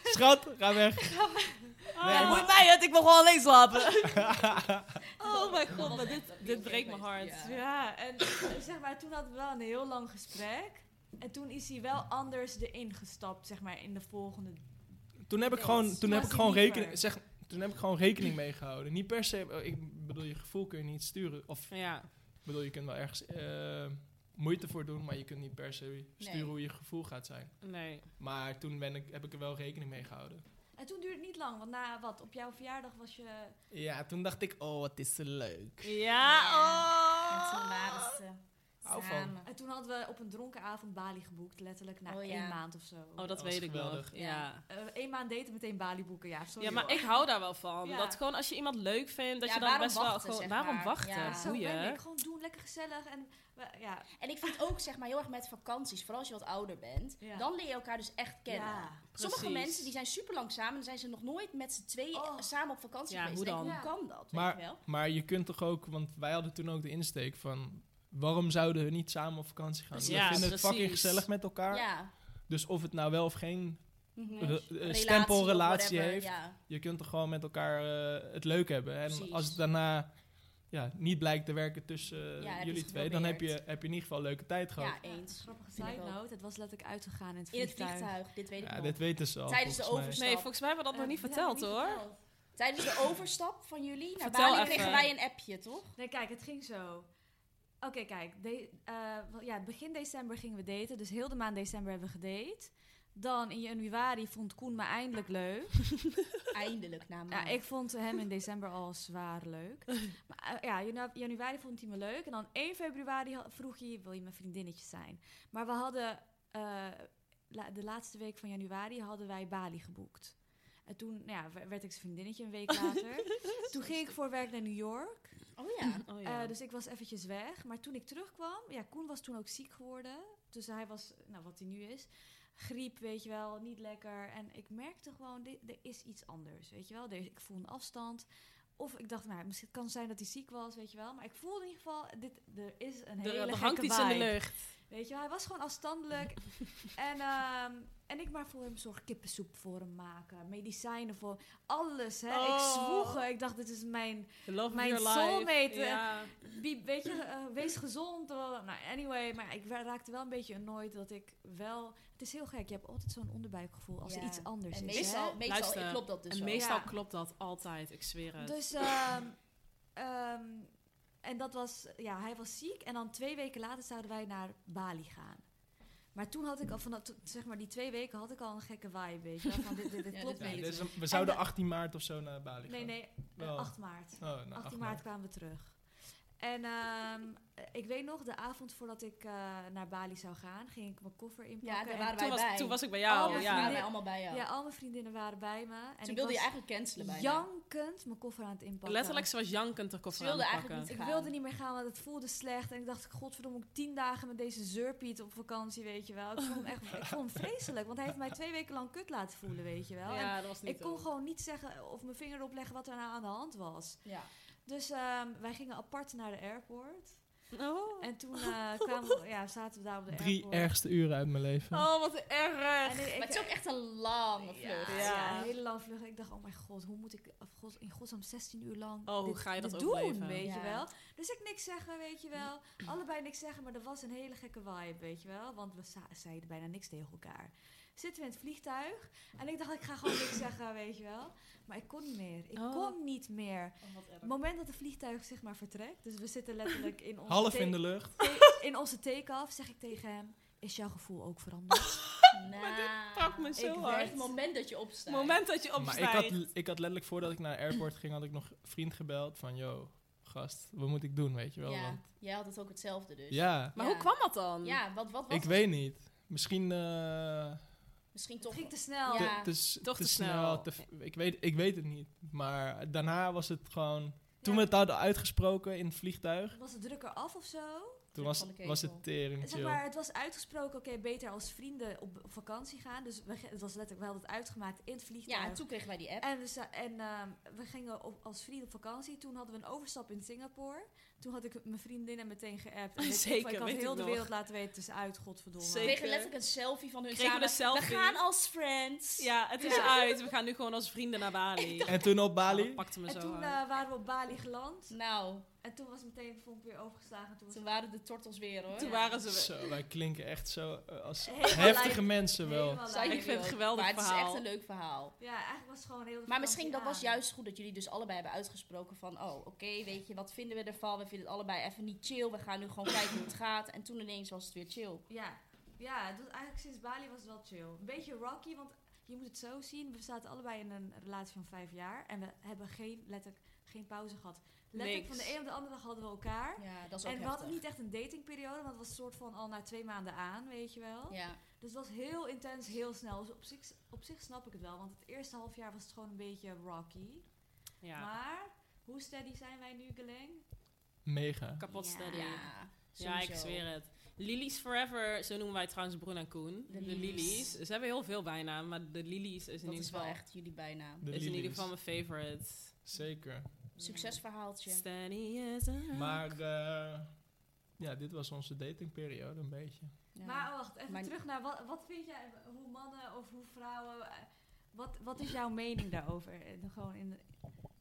S4: Schat, ga weg. Nee,
S3: Oh.
S4: maar-
S2: mij het, ik wil gewoon alleen slapen.
S7: Oh mijn god,
S2: maar Dit breekt mijn hart.
S3: Ja, en eh, zeg maar, toen hadden we wel een heel lang gesprek. En toen is hij wel anders erin gestapt, zeg maar, in de volgende...
S7: Oh.
S4: Toen heb ik
S3: Nee,
S4: gewoon,
S3: dat
S4: toen heb
S3: was
S4: ik gewoon
S3: niet waar.
S4: rekening, zeg, toen heb ik gewoon rekening mee gehouden. Niet per se, eh, ik bedoel, je gevoel kun je niet sturen. Of ik
S2: Ja.
S4: bedoel, je kunt wel ergens eh, moeite voor doen, maar je kunt niet per se sturen
S7: Nee.
S4: hoe je gevoel gaat zijn.
S2: Nee.
S4: Maar toen ben ik, heb ik er wel rekening mee gehouden.
S3: En toen duurde het niet lang, want na wat, op jouw verjaardag was je...
S4: Ja, toen dacht ik, oh, wat is ze leuk.
S2: Ja,
S7: En toen
S2: oh.
S7: waren ze
S4: Hou van.
S7: samen.
S3: En toen hadden we op een dronken avond Bali geboekt, letterlijk na
S7: Oh, ja.
S3: één maand of zo.
S2: Oh, dat
S4: was
S2: weet ik nog.
S4: geweldig.
S2: Ja.
S3: Eén maand daten, meteen Bali boeken, ja, sorry.
S2: Ja, maar
S3: hoor.
S2: ik hou daar wel van.
S3: Ja.
S2: Dat gewoon als je iemand leuk vindt, dat
S7: Ja,
S2: je dan
S7: waarom
S2: best wel
S7: wachten,
S2: gewoon...
S7: zeg
S2: waarom
S7: maar.
S2: wachten?
S7: Ja.
S3: Zo
S2: Boeien.
S3: ben ik, gewoon doen, lekker gezellig. En we- ja,
S7: En ik vind ook zeg maar heel erg met vakanties, Dus vooral als je wat ouder bent,
S3: Ja.
S7: dan leer je elkaar dus echt kennen.
S3: ja.
S7: Sommige
S2: Precies.
S7: mensen die zijn super lang samen, dan zijn ze nog nooit met z'n tweeën
S3: Oh.
S7: samen op vakantie
S2: Ja,
S7: geweest.
S2: hoe
S7: Ik denk,
S2: dan?
S7: hoe kan dat?
S4: Maar-
S7: weet je wel?
S4: Maar je kunt toch ook, want wij hadden toen ook de insteek van... Waarom zouden we niet samen op vakantie gaan?
S2: Ja,
S4: we vinden het fucking
S2: precies.
S4: gezellig met elkaar.
S7: Ja.
S4: Dus of het nou wel of geen
S7: Mhm.
S4: re- eh,
S7: Relatie of
S4: stempelrelatie
S7: whatever,
S4: heeft...
S7: Ja.
S4: je kunt toch gewoon met elkaar eh, het leuk hebben. En
S7: Precies.
S4: als het daarna ja, niet blijkt te werken tussen eh,
S7: Ja, heb je
S4: jullie
S7: het
S4: twee, dan heb je,
S7: geprobeerd.
S4: heb je in ieder geval een leuke tijd gehad.
S7: ja, eens.
S3: Grappige
S7: Vind ik
S3: side
S7: ook.
S3: note, het was letterlijk uitgegaan in het
S7: In het
S3: vliegtuig.
S7: vliegtuig, dit weet ik
S4: Ja,
S7: nog.
S4: dit weten ze al.
S7: Tijdens de
S4: volgens mij.
S7: overstap.
S2: Nee, volgens mij hebben we dat
S7: Eh,
S2: nog niet verteld, hoor.
S7: Tijdens de overstap van jullie naar
S2: Vertel
S7: Bali
S2: even.
S7: kregen wij een appje, toch?
S3: Nee, kijk, het ging zo. Oké, kijk. De, eh, wel- ja, begin december gingen we daten. Dus heel de maand december hebben we gedate. Dan in januari vond Koen me eindelijk leuk.
S7: Eindelijk na een
S3: Ja,
S7: maand.
S3: ik vond hem in december al zwaar leuk. Maar eh, ja, janu- januari vond hij me leuk. En dan 1 februari ha- vroeg hij, wil je mijn vriendinnetje zijn? Maar we hadden, eh, la- de laatste week van januari hadden wij Bali geboekt. En toen nou ja, w- werd ik zijn vriendinnetje een week later. toen ging ik voor werk naar New York.
S7: Oh ja.
S2: Oh,
S3: Eh,
S2: ja.
S3: dus ik was eventjes weg. Maar toen ik terugkwam, ja, Koen was toen ook ziek geworden. Dus hij was, nou wat hij nu is, griep, weet je wel, niet lekker. En ik merkte gewoon, di- er is iets anders, weet je wel. Er- ik voel een afstand. Of ik dacht, nou, misschien kan het zijn dat hij ziek was, weet je wel. Maar ik voelde in ieder geval, dit, er is een
S2: er,
S3: hele
S2: er
S3: gekke
S2: hangt iets in de
S3: vibe.
S2: lucht.
S3: Weet je, hij was gewoon afstandelijk. en, ehm, en ik maar voor hem zorg kippensoep voor hem maken. Medicijnen voor alles. Hè. Ik
S2: Oh.
S3: zwoeg. Ik dacht, dit is mijn
S2: The love of
S3: Mijn
S2: your life.
S3: soulmate, eh,
S2: Ja.
S3: Wie- weet je, eh, wees gezond. eh, nou, anyway, maar ik wa- raakte wel een beetje annoyed dat ik wel... Het is heel gek, je hebt altijd zo'n onderbuikgevoel als er
S7: Ja.
S3: iets anders
S7: En
S3: is.
S7: meestal,
S3: hè?
S2: Luister,
S7: meestal klopt dat dus
S2: En
S7: ook.
S2: meestal
S3: Ja.
S2: klopt dat altijd, ik zweer het.
S3: Dus, ehm, ehm, en dat was, ja, hij was ziek. En dan twee weken later zouden wij naar Bali gaan. Maar toen had ik al, vanaf, to- zeg maar die twee weken had ik al een gekke vibe, weet je wel, Van dit, dit, dit
S7: Ja,
S3: klopt
S7: dit-
S4: Ja,
S3: niet.
S4: dit is een- we zouden
S3: de-
S4: 18 maart of zo naar Bali
S3: Nee,
S4: gaan.
S3: nee, eh,
S4: Wel.
S3: 8 maart.
S4: Oh, nou, 18
S3: 18 maart kwamen we terug. En ehm, eh, ik weet nog, de avond voordat ik eh, naar Bali zou gaan, ging ik mijn koffer inpakken.
S7: Ja, daar
S3: en-
S7: waren
S2: toen,
S7: wij bij.
S2: was, toen was ik bij
S3: Oh,
S2: jou,
S3: mijn
S7: ja,
S2: ja.
S7: waren
S3: vriendin.
S7: wij allemaal bij jou.
S3: ja, al mijn vriendinnen waren bij me. En
S7: Ze
S3: ik
S7: wilde je
S3: was
S7: eigenlijk cancelen bijna.
S3: jankend mijn koffer aan het inpakken.
S2: Letterlijk, ze was jankend haar koffer
S7: Ze wilde
S2: aan het
S7: eigenlijk
S2: pakken.
S3: Ik
S7: gaan.
S3: wilde niet meer gaan, want het voelde slecht. En ik dacht, godverdomme, moet ik tien dagen met deze zeurpiet op vakantie, weet je wel. Ik vond hem echt ik vond hem vreselijk, want hij heeft mij twee weken lang kut laten voelen, weet je wel. En
S2: Ja, dat was niet
S3: ik kon
S2: goed.
S3: gewoon niet zeggen eh, of mijn vinger erop leggen wat er nou aan de hand was.
S7: Ja.
S3: Dus ehm, wij gingen apart naar de airport.
S2: Oh.
S3: En toen eh, kwamen we, ja, zaten we daar op de
S4: Drie
S3: airport.
S4: ergste uren uit mijn leven.
S2: Oh, wat erg.
S3: En ik- ik-
S7: Maar het is ook echt een lange vlucht.
S3: Ja,
S2: Ja.
S3: ja, een hele lange vlucht. Ik dacht, oh mijn god, hoe moet ik of god, in godsnaam 16 uur lang
S2: Oh, hoe
S3: dit,
S2: ga je dat
S3: dit
S2: overleven?
S3: doen, weet je
S7: Ja.
S3: wel. Dus ik niks zeggen, weet je wel. Allebei niks zeggen, maar er was een hele gekke vibe, weet je wel. Want we za- zeiden bijna niks tegen elkaar. Zitten we in het vliegtuig en ik dacht, ik ga gewoon niks zeggen, weet je wel. Maar ik kon niet meer. Ik
S2: Oh.
S3: kon niet meer.
S7: Oh,
S3: Het moment dat het vliegtuig zeg maar vertrekt, dus we zitten letterlijk in onze
S4: Half
S3: take-
S4: in de lucht.
S3: take- in onze take-off, zeg ik tegen hem, is jouw gevoel ook veranderd?
S7: Maar dit
S2: Pak me zo
S3: ik
S2: hard.
S3: werd-
S7: Nou, Het moment dat je opstaat.
S2: Het moment dat je
S4: Maar ik had,
S2: opstijgt.
S4: ik had letterlijk voordat ik naar de airport ging, had ik nog een vriend gebeld van, yo, gast, wat moet ik doen, weet je wel?
S7: ja.
S4: Want,
S7: Jij had het ook hetzelfde dus.
S4: ja,
S2: Maar
S7: Ja.
S2: hoe kwam dat dan?
S7: Ja, wat, wat was
S4: ik
S7: het?
S4: weet niet. Misschien eh,
S7: Misschien
S3: Het
S7: toch...
S3: ging te snel.
S4: te-
S7: Ja.
S4: te, s-
S2: Toch te snel.
S4: te f- ik, weet, ik weet het niet. Maar daarna was het gewoon... Toen
S3: Ja.
S4: we het hadden uitgesproken in het vliegtuig,
S3: Was de drukker af of zo?
S4: toen was,
S7: van de
S4: was
S7: ketel.
S4: het tering
S3: Zeg
S4: chill.
S3: maar, het was uitgesproken, oké, beter als vrienden op op vakantie gaan. Dus we, ge- het was letterlijk, we hadden het uitgemaakt in het vliegtuig.
S7: Ja, en toen kregen wij die app.
S3: En, we, za- en ehm, we gingen op, als vrienden op vakantie. Toen hadden we een overstap in Singapore. Toen had ik mijn vriendinnen meteen geappt. En weet ik veel,
S2: Zeker,
S3: ik had
S2: weet
S3: heel
S2: ik
S3: de
S2: nog.
S3: wereld laten weten, het is uit, godverdomme.
S7: We
S2: Zeker.
S7: kregen letterlijk een selfie van hun
S2: Kregen we
S7: samen.
S2: een selfie?
S7: We gaan als friends.
S2: Ja, het is uit. We gaan nu gewoon als vrienden naar Bali.
S4: En toen op
S2: Oh, dat
S4: Bali,
S2: pakte me
S3: En
S2: zo
S3: toen
S2: hard.
S3: eh, waren we op Bali geland.
S7: Nou,
S3: En toen was meteen de vonk weer overgeslagen. En toen was
S7: toen waren de tortels weer hoor.
S2: Toen waren ze...
S4: zo, wij klinken echt zo eh, als
S3: Helemaal
S4: heftige
S3: lijp.
S4: mensen wel.
S3: helemaal
S7: Zijn
S3: leuk.
S2: Ik vind het
S7: ook.
S2: geweldig
S7: Maar het is
S2: verhaal.
S7: echt een leuk verhaal.
S3: Ja, eigenlijk was het gewoon heel de
S7: Maar
S3: vakantie
S7: misschien dat was
S3: aan.
S7: juist goed dat jullie dus allebei hebben uitgesproken van... Oh, oké, weet je, wat vinden we ervan? We vinden het allebei even niet chill. We gaan nu gewoon kijken hoe het gaat. En toen ineens was het weer chill.
S3: Ja, ja het was eigenlijk sinds Bali was het wel chill. Een beetje rocky, want je moet het zo zien. We zaten allebei in een relatie van vijf jaar. En we hebben geen, letterlijk, geen pauze gehad. Letterlijk
S2: Niks.
S3: van de een op de andere dag hadden we elkaar.
S7: Ja, dat is ook
S3: en we
S7: heftig.
S3: hadden niet echt een datingperiode, want het was soort van al na twee maanden aan, weet je wel.
S7: Ja,
S3: Dus het was heel intens, heel snel. Dus op zich, op zich snap ik het wel, want het eerste half jaar was het gewoon een beetje rocky.
S2: Ja,
S3: Maar hoe steady zijn wij nu, Geleng?
S4: Mega.
S2: kapot steady.
S7: ja.
S2: Ja, ik
S7: sowieso.
S2: zweer het. Lilies Forever, zo noemen wij trouwens Broen en Koen. De
S7: De
S2: Lilies.
S7: Lilies.
S2: Ze hebben heel veel bijnamen, maar de Lilies is in,
S7: Dat
S2: ieder
S7: is wel
S2: geval,
S7: echt jullie bijnaam.
S4: De
S2: is in ieder
S4: lilies.
S2: geval mijn favorite.
S4: Zeker.
S7: Succesverhaaltje.
S2: Steady as a-
S4: Maar eh, ja, dit was onze datingperiode een beetje.
S7: Ja.
S3: Maar wacht, even
S7: Maar-
S3: terug naar wat, wat vind jij, hoe mannen of hoe vrouwen, eh, wat, wat is jouw mening daarover? Eh, de- Gewoon in de,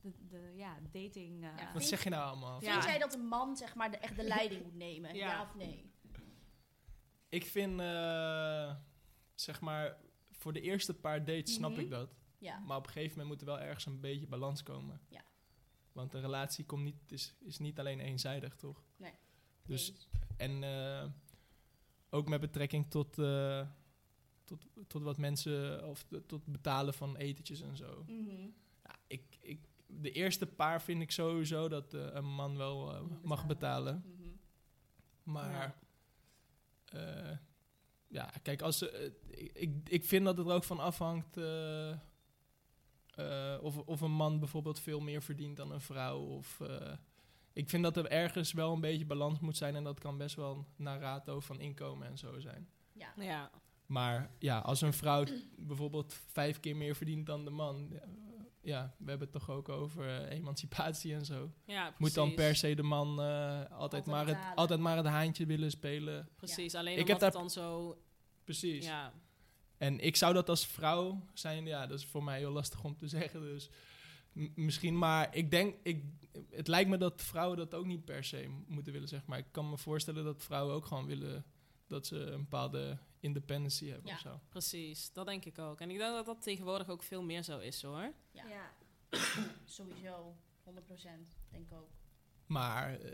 S3: de, de- ja, dating. eh,
S7: Ja,
S4: Wat
S7: Vind-
S4: zeg je nou allemaal?
S2: Ja.
S7: Vind jij dat een man zeg maar de, echt de leiding moet nemen?
S2: Ja.
S7: Ja, of nee?
S4: Ik vind, eh, zeg maar, voor de eerste paar dates snap
S7: Mhm.
S4: ik dat.
S7: Ja.
S4: Maar op een gegeven moment moet er wel ergens een beetje balans komen.
S7: Ja.
S4: Want een relatie komt niet, is, is niet alleen eenzijdig, toch?
S7: Nee.
S4: Dus,
S7: Eens.
S4: en eh, ook met betrekking tot, eh, tot, tot wat mensen, of de- tot betalen van etentjes en zo.
S7: Mhm.
S4: Ja, ik, ik, de eerste paar vind ik sowieso dat eh, een man wel eh, mag betalen.
S7: Mhm.
S4: Maar ja, ja kijk, als, ze, eh, ik- ik, ik vind dat het er ook van afhangt eh, eh, of, of een man bijvoorbeeld veel meer verdient dan een vrouw. Of, eh, ik vind dat er ergens wel een beetje balans moet zijn en dat kan best wel naar rato van inkomen en zo zijn.
S7: Ja.
S2: Ja,
S4: Maar ja, als een vrouw bijvoorbeeld vijf keer meer verdient dan de man, ja, ja, we hebben het toch ook over eh, emancipatie en zo.
S2: Ja, precies.
S4: Moet dan per se de man eh, altijd, maar het,
S7: betalen.
S4: altijd maar het haantje willen spelen?
S2: Precies, alleen
S4: Ik
S2: omdat
S4: heb
S2: het
S4: daar-
S2: dan zo...
S4: Precies.
S2: Ja,
S4: En ik zou dat als vrouw zijn, ja, dat is voor mij heel lastig om te zeggen. Dus m- misschien, maar ik denk, ik, het lijkt me dat vrouwen dat ook niet per se m- moeten willen, zeg maar. Ik kan me voorstellen dat vrouwen ook gewoon willen dat ze een bepaalde independency hebben
S7: Ja.
S4: of zo.
S2: precies. Dat denk ik ook. En ik denk dat dat tegenwoordig ook veel meer zo is, hoor.
S7: Ja. Sowieso, 100 denk ik ook.
S4: Maar eh,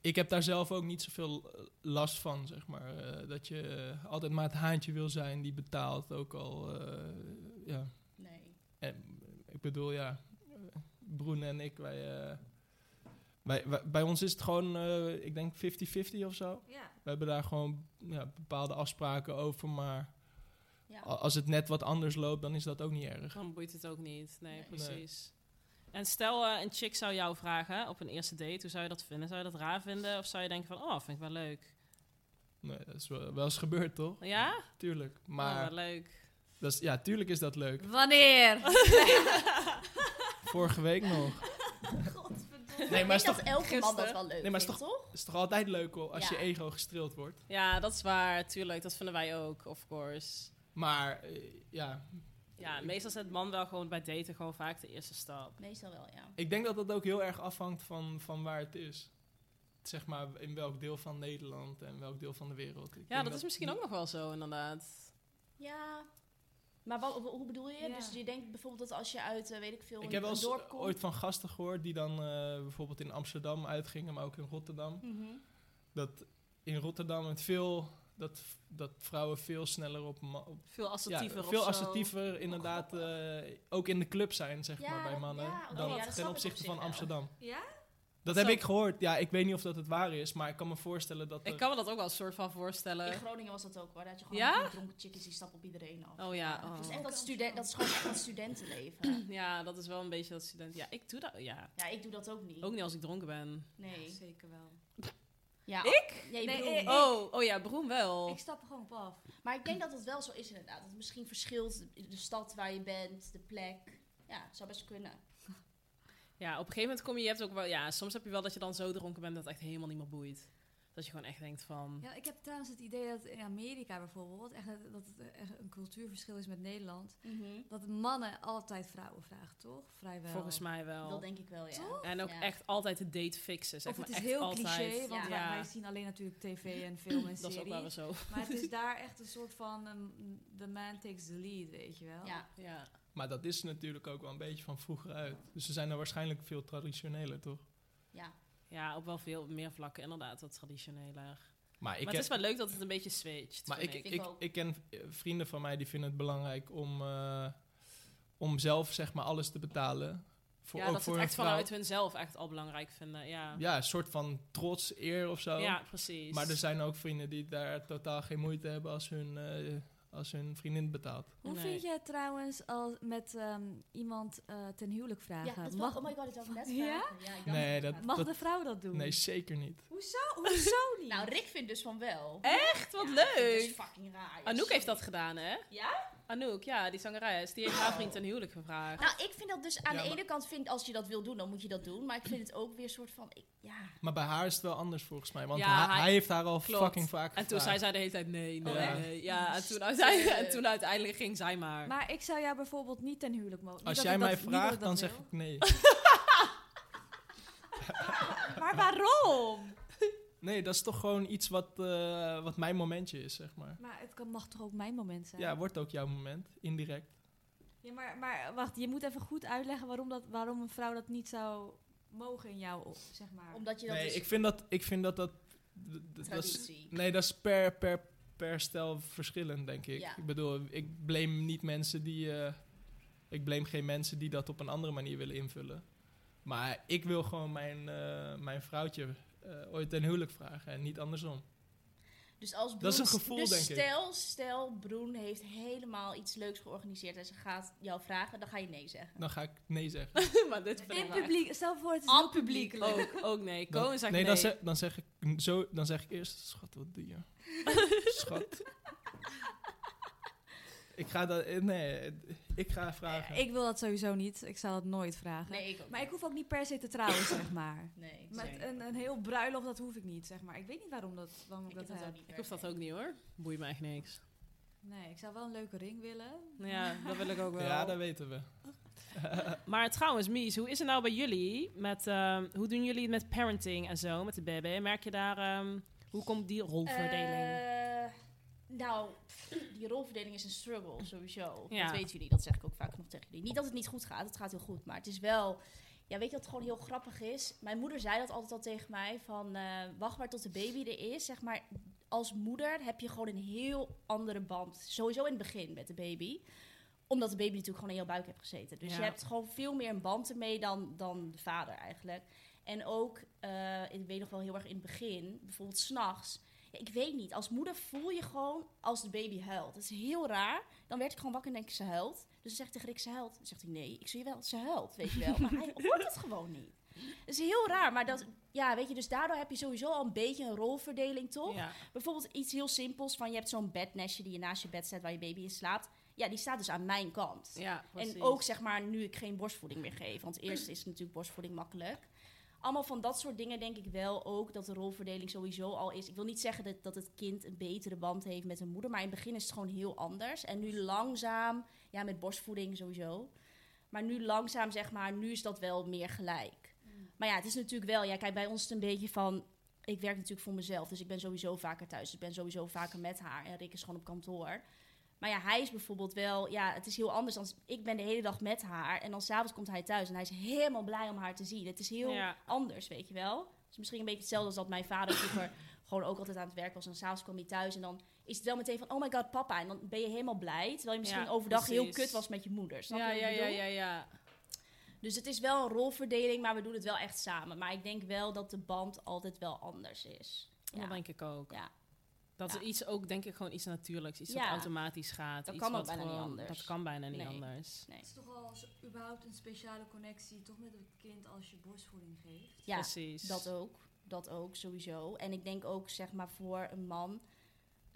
S4: ik heb daar zelf ook niet zoveel eh, last van, zeg maar. Eh, dat je eh, altijd maar het haantje wil zijn die betaalt, ook al, eh, ja.
S7: Nee.
S4: En, ik bedoel, ja, eh, Broen en ik, wij, eh, wij, wij- bij ons is het gewoon, eh, ik denk 50-50 of zo.
S5: Ja.
S4: We hebben daar gewoon ja, bepaalde afspraken over, maar
S7: Ja.
S4: a- als het net wat anders loopt, dan is dat ook niet erg.
S2: Dan boeit het ook niet. Nee,
S7: Nee.
S2: precies. En stel, eh, een chick zou jou vragen op een eerste date, hoe zou je dat vinden? Zou je dat raar vinden? Of zou je denken van, oh, vind ik wel leuk.
S4: Nee, dat is wel, wel eens gebeurd, toch?
S2: Ja?
S4: Tuurlijk.
S2: Maar...
S4: Maar
S2: wel leuk.
S4: dat is, ja, tuurlijk is dat leuk.
S5: Wanneer?
S4: Vorige week nog.
S7: Godverdomme.
S4: Nee,
S7: Nee,
S4: maar
S7: maar
S4: is
S7: dat elke man dat
S2: Gisteren.
S7: wel leuk
S4: Nee, maar is
S7: vindt, toch?
S4: Het is toch altijd leuk hoor, als
S7: Ja.
S4: je ego gestreeld wordt.
S2: Ja, dat is waar. Tuurlijk, dat vinden wij ook, of course.
S4: Maar eh, ja,
S2: Ja, meestal zet man wel gewoon bij daten gewoon vaak de eerste stap.
S7: Meestal wel, ja.
S4: ik denk dat dat ook heel erg afhangt van, van waar het is. Zeg maar in welk deel van Nederland en welk deel van de wereld. Ik denk
S2: Ja, dat is misschien ook nog wel zo, inderdaad.
S7: Ja. Maar wat, hoe bedoel je?
S5: Ja.
S7: Dus je denkt bijvoorbeeld dat als je uit, eh, weet ik veel,
S4: Ik
S7: een,
S4: heb wel
S7: een
S4: eens
S7: dorp komt.
S4: ooit van gasten gehoord die dan eh, bijvoorbeeld in Amsterdam uitgingen, maar ook in Rotterdam.
S7: Mhm.
S4: Dat in Rotterdam het veel, dat, dat vrouwen veel sneller op, ma- op
S2: Veel assertiever
S4: ja,
S2: of
S4: veel
S2: zo.
S4: assertiever inderdaad eh, ook in de club zijn, zeg
S7: Oh, Ja,
S4: maar, bij
S7: dat-
S4: mannen.
S7: ja, oh
S4: dan
S7: ja, dat snap
S4: ten
S7: ik
S4: opzichte
S7: op zich
S4: van
S7: wel.
S4: Amsterdam.
S5: Ja?
S4: Dat
S2: Zo.
S4: heb ik gehoord. Ja, ik weet niet of dat het waar is, maar ik kan me voorstellen dat.
S2: Ik
S4: er-
S2: kan me dat ook wel een soort van
S7: In
S4: Eh.
S2: voorstellen.
S7: Groningen was dat ook, waar dat je gewoon
S2: Ja?
S7: allemaal dronken chickies die stappen op iedereen af.
S2: Oh ja, oh.
S7: Dat is echt dat, student, dat is gewoon echt dat studentenleven.
S2: Ja, dat is wel een beetje dat student. Ja, ik doe dat. Ja,
S7: Ja, ik doe dat ook niet.
S2: ook niet als ik dronken ben.
S7: Nee.
S5: Zeker wel.
S7: Ja,
S2: Ik?
S7: Nee,
S5: Nee,
S7: broer.
S5: ik-
S2: Oh, oh ja, Broen wel.
S5: Ik stap er gewoon op af.
S7: Maar ik denk dat het wel zo is inderdaad. Dat het misschien verschilt de, de stad waar je bent, de plek. Ja, het zou best kunnen.
S2: Ja, op een gegeven moment kom je, je hebt ook wel, ja, soms heb je wel dat je dan zo dronken bent dat het echt helemaal niet meer boeit. Dat je gewoon echt denkt van,
S5: Ja, ik heb trouwens het idee dat in Amerika bijvoorbeeld, echt, dat- dat het echt een cultuurverschil is met Nederland,
S7: Mhm.
S5: dat mannen altijd vrouwen vragen, toch? Vrijwel.
S2: volgens mij
S7: Dat
S2: wel.
S7: denk ik wel, ja.
S2: En ook
S7: Ja.
S2: echt altijd de date fixen, zeg
S5: Of het
S2: maar.
S5: is
S2: echt
S5: heel
S2: altijd.
S5: cliché, want
S7: Ja.
S5: wij, wij
S2: Ja.
S5: zien alleen natuurlijk tv en film en
S2: Dat is ook wel weer
S5: series.
S2: zo.
S5: Maar het is daar echt een soort van ehm, the man takes the lead, weet je wel.
S7: Ja,
S2: Ja.
S4: Maar dat is natuurlijk ook wel een beetje van vroeger uit. Dus ze zijn er waarschijnlijk veel traditioneler, toch?
S7: ja.
S2: ja, op wel veel meer vlakken inderdaad, wat traditioneler.
S4: Maar ik
S2: maar
S4: heb-
S2: het is wel leuk dat het een beetje switcht.
S4: Maar ik,
S2: vind
S4: ik,
S2: ik,
S7: ik
S4: ik,
S7: ook.
S4: ken eh, vrienden van mij die vinden het belangrijk om, eh, om zelf zeg maar alles te betalen. Voor,
S2: ja,
S4: ook
S2: dat ze
S4: voor
S2: het
S4: een
S2: echt
S4: vrouw.
S2: vanuit hunzelf echt al belangrijk vinden. Ja, ja,
S4: Ja, een soort van trots, eer of zo.
S2: precies.
S4: Maar er zijn ook vrienden die daar totaal geen moeite hebben als hun, eh, als hun vriendin het betaalt.
S5: Hoe
S2: Nee.
S5: vind je het trouwens als met ehm, iemand eh, ten huwelijk
S7: ja
S5: vragen?
S7: dat
S5: mag,
S7: mag, oh my god, ik zou het net
S5: Ja?
S7: vragen. Ja? ik dacht
S4: Nee,
S7: het
S4: dat,
S7: inderdaad.
S5: mag
S4: dat-
S5: de vrouw dat doen?
S4: nee zeker niet.
S5: Hoezo niet?
S7: Nou, Rick vindt dus van wel.
S2: echt wat
S7: Ja, Dat is
S2: leuk.
S7: fucking raar. joh.
S2: Anouk heeft dat gedaan, hè?
S7: Ja?
S2: Anouk, ja, Ah. die zangeres. Die heeft haar vriend ten huwelijk gevraagd.
S7: Nou, ik vind dat dus aan
S4: Ja,
S7: de
S4: maar-
S7: ene kant vind als je dat wil doen, dan moet je dat doen. Maar ik vind het ook weer een soort van, ik, ja.
S4: Maar bij haar is het wel anders volgens mij. Want
S2: Ja,
S4: hij,
S2: hij-
S4: hij heeft haar al
S2: klopt.
S4: fucking vaak
S2: en toen
S4: gevraagd.
S2: zei zij de hele tijd nee, nee,
S4: Oh, echt?
S2: nee. Ja, en toen, uiteindelijk, en toen uiteindelijk ging zij maar.
S5: Maar ik zou jou bijvoorbeeld niet ten huwelijk mogen.
S4: Als jij mij vraagt, dan zeg
S5: ik.
S4: ik nee.
S5: Maar waarom?
S4: Nee, dat is toch gewoon iets wat, eh, wat mijn momentje is, zeg maar.
S5: Maar het kan, mag toch ook mijn moment zijn?
S4: Ja, wordt ook jouw moment, indirect.
S5: Ja, maar, maar wacht, je moet even goed uitleggen waarom, dat, waarom een vrouw dat niet zou mogen in jou, op, zeg maar.
S7: Omdat je dat
S4: Nee,
S7: dus-
S4: ik vind dat, ik vind dat, dat, d- d- dat is,
S7: Traditie.
S4: nee, dat is per, per, per stel verschillend, denk ik.
S7: Ja.
S4: Ik bedoel, ik blame niet mensen die, eh, ik blame geen mensen die dat op een andere manier willen invullen. Maar ik wil gewoon mijn, eh, mijn vrouwtje eh, ooit ten huwelijk vragen en niet andersom.
S7: Dus als Broen,
S4: Dat is een gevoel,
S7: dus
S4: denk ik.
S7: stel, Stel, Broen heeft helemaal iets leuks georganiseerd en ze gaat jou vragen, dan ga je nee zeggen.
S4: Dan ga ik nee zeggen.
S2: maar dit vind
S5: in
S2: ik raar.
S5: publiek, stel voor het is
S7: Aan
S5: heel publiekelijk.
S2: Ook, ook nee.
S4: Dan-
S2: Cohen zegt nee.
S4: nee, Dan, zeg, dan, zeg ik, zo, dan zeg ik eerst, schat, wat doe je? schat. ik ga dat, eh, nee, eh, Ik ga vragen.
S5: Ik wil dat sowieso niet. Ik zou dat nooit vragen.
S7: Nee, ik ook
S5: Maar ik
S7: niet.
S5: hoef ook niet per se te trouwen, zeg maar.
S7: Nee,
S5: Met
S3: eh,
S7: zeker.
S5: een, een heel bruiloft, dat hoef ik niet, zeg maar. Ik weet niet waarom, dat, waarom ik,
S7: Ik heb
S5: dat
S7: dat ook
S5: heb.
S7: niet
S2: Ik hoef
S7: per
S2: dat
S7: se.
S2: ook niet hoor. Boeit mij echt niks.
S5: Nee, ik zou wel een leuke ring willen.
S2: Ja, dat wil ik ook wel.
S4: ja, dat weten we.
S2: Maar trouwens, Mies, hoe is het nou bij jullie? Met, ehm, hoe doen jullie het met parenting en zo, met de baby? Merk je daar, ehm, hoe komt die rolverdeling?
S7: Eh, nou, pff, die rolverdeling is een struggle sowieso.
S2: Ja.
S7: Dat weten jullie, dat zeg ik ook vaak nog tegen jullie. Niet dat het niet goed gaat, het gaat heel goed. Maar het is wel, ja, weet je wat gewoon heel grappig is? Mijn moeder zei dat altijd al tegen mij, van eh, wacht maar tot de baby er is. Zeg maar, als moeder heb je gewoon een heel andere band. Sowieso in het begin met de baby omdat de baby natuurlijk gewoon in jouw buik hebt gezeten. Dus
S2: Ja.
S7: je hebt gewoon veel meer een band ermee dan, dan de vader eigenlijk. En ook, eh, ik weet nog wel heel erg in het begin, bijvoorbeeld s'nachts. Ja, ik weet niet, als moeder voel je gewoon als de baby huilt. Dat is heel raar. Dan werd ik gewoon wakker en denk ik, ze huilt. Dus dan zeg ik tegen Rick, ze huilt. Dan zegt hij, nee, ik zie je wel, ze huilt, weet je wel. Maar hij hoort het gewoon niet. Dat is heel raar, maar dat, ja, weet je, dus daardoor heb je sowieso al een beetje een rolverdeling, toch?
S2: Ja.
S7: Bijvoorbeeld iets heel simpels van je hebt zo'n bednestje die je naast je bed zet waar je baby in slaapt. Ja, die staat dus aan mijn kant.
S2: Ja, precies.
S7: en ook zeg maar nu ik geen borstvoeding meer geef, want eerst is natuurlijk borstvoeding makkelijk. Allemaal van dat soort dingen denk ik wel ook dat de rolverdeling sowieso al is. Ik wil niet zeggen dat, dat het kind een betere band heeft met zijn moeder, maar in het begin is het gewoon heel anders. En nu langzaam, ja met borstvoeding sowieso, maar nu langzaam zeg maar, nu is dat wel meer gelijk. Maar ja, het is natuurlijk wel, ja kijk bij ons is het een beetje van, ik werk natuurlijk voor mezelf, dus ik ben sowieso vaker thuis. Dus ik ben sowieso vaker met haar. En Rick is gewoon op kantoor. Maar ja, hij is bijvoorbeeld wel, ja, het is heel anders. Dan, ik ben de hele dag met haar en dan s'avonds komt hij thuis en hij is helemaal blij om haar te zien. Het is heel
S2: Ja.
S7: anders, weet je wel. Het is misschien een beetje hetzelfde als dat mijn vader vroeger gewoon ook altijd aan het werk was. En s'avonds kwam hij thuis en dan is het wel meteen van, oh my god, papa. En dan ben je helemaal blij, terwijl je misschien
S2: Ja,
S7: overdag heel
S2: precies.
S7: kut was met je moeder. Snap
S2: ja,
S7: je wat
S2: ja,
S7: ik
S2: ja,
S7: bedoel?
S2: ja, ja.
S7: Dus het is wel een rolverdeling, maar we doen het wel echt samen. Maar ik denk wel dat de band altijd wel anders is.
S2: Dat denk ik ook.
S7: Ja.
S2: Dat
S7: Ja.
S2: is iets ook, denk ik, gewoon iets natuurlijks. Iets wat
S7: Ja.
S2: automatisch gaat.
S7: Dat
S2: iets
S7: kan ook
S2: wat
S7: bijna niet
S2: gewoon-
S7: anders.
S2: Dat kan bijna niet
S7: Nee.
S2: anders.
S7: Nee.
S5: Het is toch al zo- überhaupt een speciale connectie, toch met het kind als je borstvoeding geeft.
S7: Ja,
S2: Precies.
S7: Dat ook, dat ook sowieso. En ik denk ook, zeg maar, voor een man,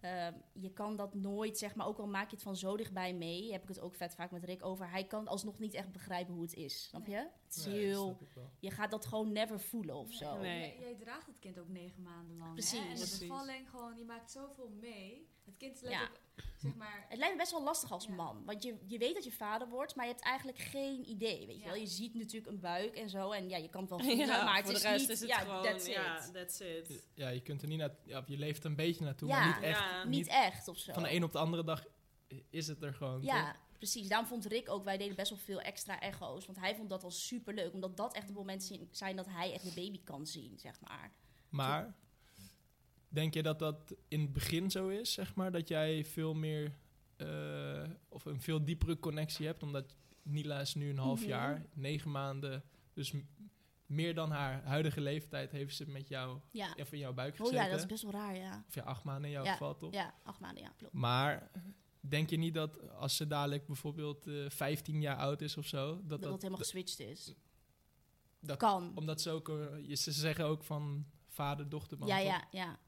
S7: ehm, je kan dat nooit, zeg maar, ook al maak je het van zo dichtbij mee, heb ik het ook vet vaak met Rick over, hij kan alsnog niet echt begrijpen hoe het is, snap je? Het is
S4: Nee, dat
S7: heel,
S4: snap ik wel.
S7: je gaat dat gewoon never voelen of zo.
S2: Nee.
S5: Jij, jij draagt het kind ook negen maanden lang.
S7: Precies.
S5: Hè? En de
S2: Precies.
S5: bevalling gewoon, je maakt zoveel mee. Het kind is
S7: Ja.
S5: letterlijk, zeg maar,
S7: Het lijkt me best wel lastig als
S5: Ja.
S7: man. Want je, je weet dat je vader wordt, maar je hebt eigenlijk geen idee. Weet je,
S5: Ja.
S7: wel? je ziet natuurlijk een buik en zo. En ja, je kan het wel voelen, maar het
S2: voor
S7: is
S2: de rest
S7: niet...
S2: is het
S7: ja,
S2: gewoon...
S7: that's
S2: dus ja,
S7: it.
S2: that's it.
S4: Ja, je kunt er niet naar... Ja, je leeft een beetje naartoe,
S7: Ja.
S4: maar niet echt.
S2: Ja.
S7: Niet echt of zo.
S4: Van de een op de andere dag is het er gewoon.
S7: Ja, precies. Daarom vond Rick ook, wij deden best wel veel extra echo's. Want hij vond dat al superleuk. Omdat dat echt de momenten zien- zijn dat hij echt de baby kan zien, zeg maar.
S4: Maar denk je dat dat in het begin zo is, zeg maar? Dat jij veel meer eh, of een veel diepere connectie hebt, omdat Nila is nu een half
S7: Mhm.
S4: jaar, negen maanden, dus m- meer dan haar huidige leeftijd heeft ze met jou
S7: Ja.
S4: of in jouw buik
S7: Oh
S4: gezeten.
S7: ja, dat is best wel raar, ja.
S4: Of ja, acht maanden in jouw
S7: Ja,
S4: geval toch?
S7: Ja, acht maanden, ja, klopt.
S4: Maar denk je niet dat als ze dadelijk bijvoorbeeld eh 15 jaar oud is of zo, dat
S7: Dat,
S4: dat,
S7: dat helemaal geswitcht is.
S4: dat-
S7: kan.
S4: omdat ze ook eh, je- ze zeggen ook van vader dochterband.
S7: Ja,
S4: toch?
S7: ja, ja.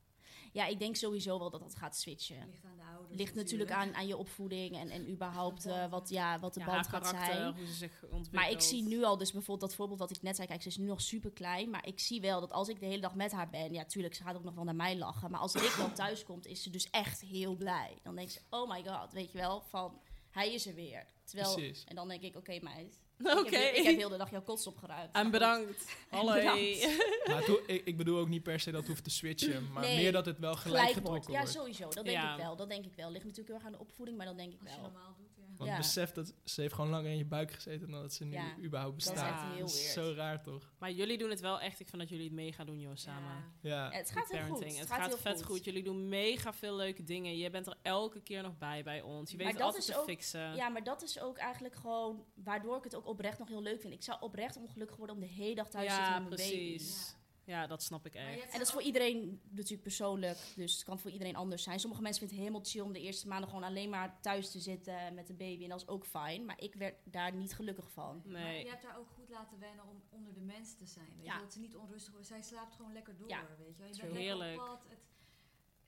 S7: Ja, ik denk sowieso wel dat dat gaat switchen.
S5: ligt aan de ouders.
S7: ligt natuurlijk aan, aan je opvoeding en, en überhaupt eh, wat, ja, wat de
S2: Ja, haar
S7: band gaat
S2: karakter,
S7: zijn.
S2: hoe ze zich ontwikkelt.
S7: Maar ik zie nu al, dus bijvoorbeeld dat voorbeeld wat ik net zei, kijk, ze is nu nog super klein, maar ik zie wel dat als ik de hele dag met haar ben, ja, tuurlijk, ze gaat ook nog wel naar mij lachen, maar als Rick dan thuis komt, is ze dus echt heel blij. Dan denkt ze, oh my god, weet je wel, van, hij is er weer. Terwijl,
S4: Precies.
S7: en dan denk ik, oké meid,
S2: Oké.
S7: ik, heb, ik heb heel de dag jouw kots opgeruimd.
S2: En bedankt. Hallo.
S7: Bedankt.
S4: Maar toe- ik, ik bedoel ook niet per se dat hoeft te switchen, maar
S7: Nee,
S4: meer dat het wel gelijk,
S7: Gelijk wordt.
S4: getrokken
S7: Ja,
S4: wordt.
S7: sowieso, dat denk
S2: Ja.
S7: ik wel, dat denk ik wel. Ligt natuurlijk heel erg aan de opvoeding, maar dat denk ik
S5: Als je
S7: wel.
S5: normaal doet, ja.
S4: Want
S7: ja.
S4: besef dat ze heeft gewoon langer in je buik gezeten dan dat ze nu
S7: Ja,
S4: überhaupt
S7: Dat is
S2: Ja.
S4: bestaat.
S7: echt heel
S4: Dat is
S7: weird.
S4: zo raar toch?
S2: Maar jullie doen het wel echt. Ik vind dat jullie het mee gaan doen, joh, samen.
S5: Ja.
S4: Ja.
S7: Ja, het gaat heel goed.
S2: Parenting. Het gaat,
S7: heel
S2: vet goed. Jullie doen mega veel leuke dingen. Je bent er elke keer nog bij bij ons. Je
S7: Maar
S2: weet het
S7: dat
S2: altijd
S7: is
S2: te
S7: ook-
S2: fixen.
S7: Ja, maar dat is ook eigenlijk gewoon waardoor ik het ook oprecht nog heel leuk vind. Ik zou oprecht ongelukkig worden om de hele dag thuis te
S2: Ja,
S7: zitten met mijn baby.
S2: precies. Ja, dat snap ik
S5: Maar je
S2: echt.
S5: hebt
S7: En dat is voor iedereen natuurlijk persoonlijk, dus het kan voor iedereen anders zijn. Sommige mensen vinden het helemaal chill om de eerste maanden gewoon alleen maar thuis te zitten met de baby. En dat is ook fijn, maar ik werd daar niet gelukkig van.
S5: Maar je
S2: Nee.
S5: hebt haar ook goed laten wennen om onder de mensen te zijn. Weet
S7: Ja.
S5: je? Dat ze niet onrustig wordt. Zij slaapt gewoon lekker door.
S7: Ja,
S5: Weet je? wel. Je
S2: true.
S5: bent lekker
S2: Heerlijk.
S5: op pad. Het,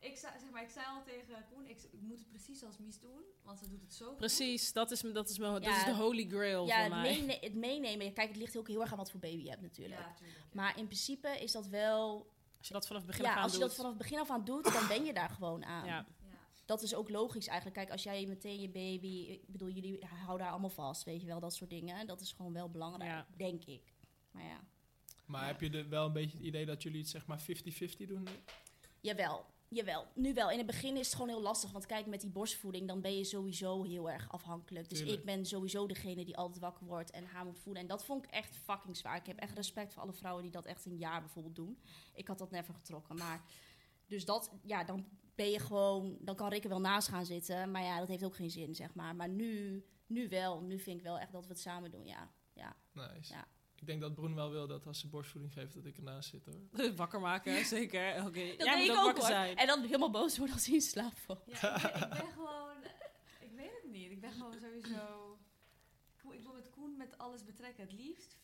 S3: Ik, zei- zeg maar, ik zei al tegen Koen, ik, ik moet het precies als Mies doen, want ze doet het zo goed.
S2: Precies, dat is, m- dat is, mijn, dat
S7: Ja.
S2: is de holy grail
S7: Ja,
S2: voor
S7: het,
S2: mij.
S7: meene- het meenemen. Kijk, het ligt ook heel erg aan wat voor baby je hebt natuurlijk.
S3: Ja, tuurlijk. ja.
S7: Maar in principe is dat wel...
S2: Als je dat vanaf het begin af
S7: Ja,
S2: aan
S7: als je
S2: doet.
S7: dat vanaf het begin af aan doet, dan ben je daar gewoon aan.
S2: Ja.
S3: Ja.
S7: Dat is ook logisch eigenlijk. Kijk, als jij meteen je baby... Ik bedoel, jullie houden haar allemaal vast, weet je wel. Dat soort dingen. Dat is gewoon wel belangrijk,
S2: Ja.
S7: denk ik. Maar ja.
S4: Maar heb je er wel een beetje het idee dat jullie het zeg maar 50-50 doen? nu?
S7: Jawel, jawel. Nu wel. In het begin is het gewoon heel lastig. Want kijk, met die borstvoeding, dan ben je sowieso heel erg afhankelijk. Dus
S4: Tuurlijk.
S7: ik ben sowieso degene die altijd wakker wordt en haar moet voeden. En dat vond ik echt fucking zwaar. Ik heb echt respect voor alle vrouwen die dat echt een jaar bijvoorbeeld doen. Ik had dat never getrokken. Maar dus dat, ja, dan ben je gewoon... Dan kan Rick er wel naast gaan zitten. Maar ja, dat heeft ook geen zin, zeg maar. Maar nu, nu wel. Nu vind ik wel echt dat we het samen doen, ja. ja.
S4: Nice.
S7: Ja.
S4: Ik denk dat Broen wel wil dat als ze borstvoeding geeft, dat ik ernaast zit hoor.
S2: Wakker maken, zeker. Oké,
S7: Dat
S2: Jij moet
S7: deed ik
S2: ook
S7: ook,
S2: wakker
S7: hoor.
S2: zijn.
S7: En dan helemaal boos worden als hij in slaap valt.
S3: Ja, ik, ben, ik ben gewoon... Ik weet het niet. Ik ben gewoon sowieso... Koen- Ik wil met Koen met alles betrekken. Het liefst 24-7,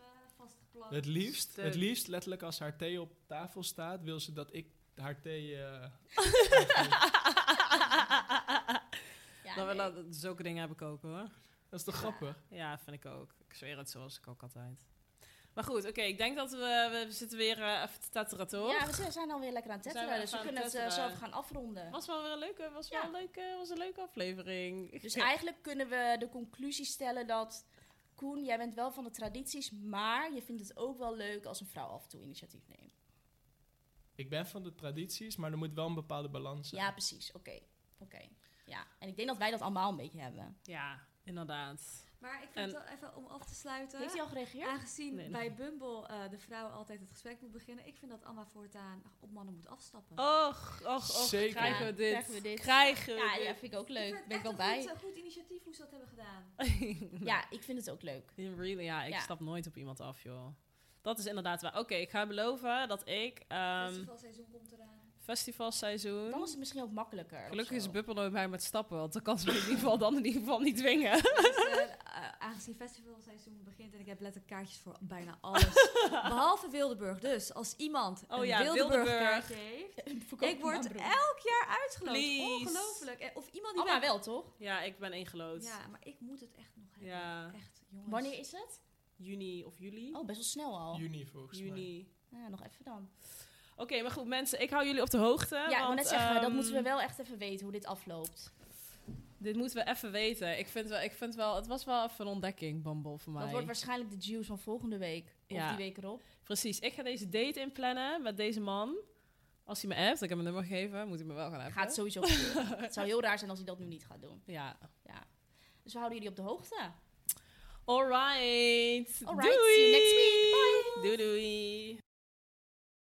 S7: Oh,
S3: vastgeplakt.
S4: Het liefst,
S11: Steun.
S4: het liefst, letterlijk als haar thee op tafel staat, wil ze dat ik haar thee... eh,
S7: Ja,
S2: Dan
S7: nee.
S2: wel dat- zulke dingen heb ik ook hoor.
S4: dat is toch grappig?
S2: Ja, vind ik ook. Ik zweer het zoals ik ook altijd. Maar goed, oké, ik denk dat we, we zitten weer eh, even te tatteren, toch?
S7: Ja, we zijn- zijn alweer lekker aan het
S2: We zijn
S7: tetteren, dus
S2: even
S7: we
S2: aan het
S7: kunnen het eh,
S2: tetteren.
S7: zo even gaan afronden.
S2: Was wel weer een leuke, was wel
S7: Ja.
S2: een leuke, was een leuke aflevering.
S7: Dus eigenlijk kunnen we de conclusie stellen dat... Koen, jij bent wel van de tradities, maar je vindt het ook wel leuk als een vrouw af en toe initiatief neemt.
S4: Ik ben van de tradities, maar er moet wel een bepaalde balans zijn.
S7: Ja, precies. Oké. Oké. Ja. En ik denk dat wij dat allemaal een beetje hebben.
S2: Ja, inderdaad.
S3: Maar ik
S2: En-
S3: vind het wel even om af te sluiten.
S7: Heeft hij al gereageerd?
S3: Aangezien
S2: Nee, nog
S3: bij Bumble eh, de vrouw altijd het gesprek moet beginnen. Ik vind dat Amma voortaan op mannen moet afstappen.
S2: Oh, Och, och, och.
S4: Zeker.
S2: Krijgen
S7: Ja,
S2: we dit?
S7: krijgen we dit.
S2: Krijgen we
S7: Ja,
S2: dit?
S7: ja, vind ik ook leuk.
S3: Ik vind
S7: ben ik wel
S3: het
S7: bij.
S3: Goed, eh, goed initiatief hoe ze dat hebben gedaan.
S7: Ja, ik vind het ook leuk.
S2: In Really, ja, ik
S7: Ja.
S2: stap nooit op iemand af, joh. Dat is inderdaad waar. Oké, ik ga beloven dat ik ehm,
S3: Festivalseizoen komt eraan.
S2: festivalseizoen...
S7: Dan is het misschien ook makkelijker. of
S2: Gelukkig
S7: zo.
S2: is Buppel nooit bij met stappen, want dan kan ze me in ieder geval dan in ieder geval niet dwingen.
S3: Dus, eh, eh, aangezien festivalseizoen begint en ik heb letterlijk kaartjes voor bijna alles. Behalve Wildeburg. Dus als iemand
S2: Oh
S3: een
S2: ja,
S3: Wildeburg
S2: Wildeburg.
S3: kaartje heeft,
S7: Verkoop
S3: Ik word
S7: maar, broer.
S3: elk jaar uitgeloot.
S2: Please.
S3: Ongelooflijk. En Of iemand die
S7: Amma
S3: bij-
S7: wel, toch?
S2: Ja, ik ben ingelood.
S3: Ja, maar ik moet het echt nog hebben.
S2: Ja.
S3: Echt, jongens.
S7: Wanneer is het?
S2: Juni of juli?
S7: Oh, best wel snel al.
S4: Juni volgens mij.
S2: Juni.
S7: Ja, nog even dan.
S2: Oké, maar goed, mensen, ik hou jullie op de hoogte.
S7: Ja, ik
S2: want,
S7: wil net zeggen, dat
S2: ehm,
S7: moeten we wel echt even weten hoe dit afloopt.
S2: Dit moeten we even weten. Ik vind wel, ik vind wel het was wel even een ontdekking, Bumble, voor mij.
S7: Dat wordt waarschijnlijk de juice van volgende week. Of
S2: Ja.
S7: die week erop.
S2: Precies, ik ga deze date inplannen met deze man. Als hij me appt, ik heb hem een nummer gegeven, moet hij me wel gaan appen.
S7: Gaat sowieso gebeuren. het zou heel raar zijn als hij dat nu niet gaat doen.
S2: Ja.
S7: Dus we houden jullie op de hoogte.
S2: Alright.
S7: Alright, see you next
S2: Doei.
S7: week.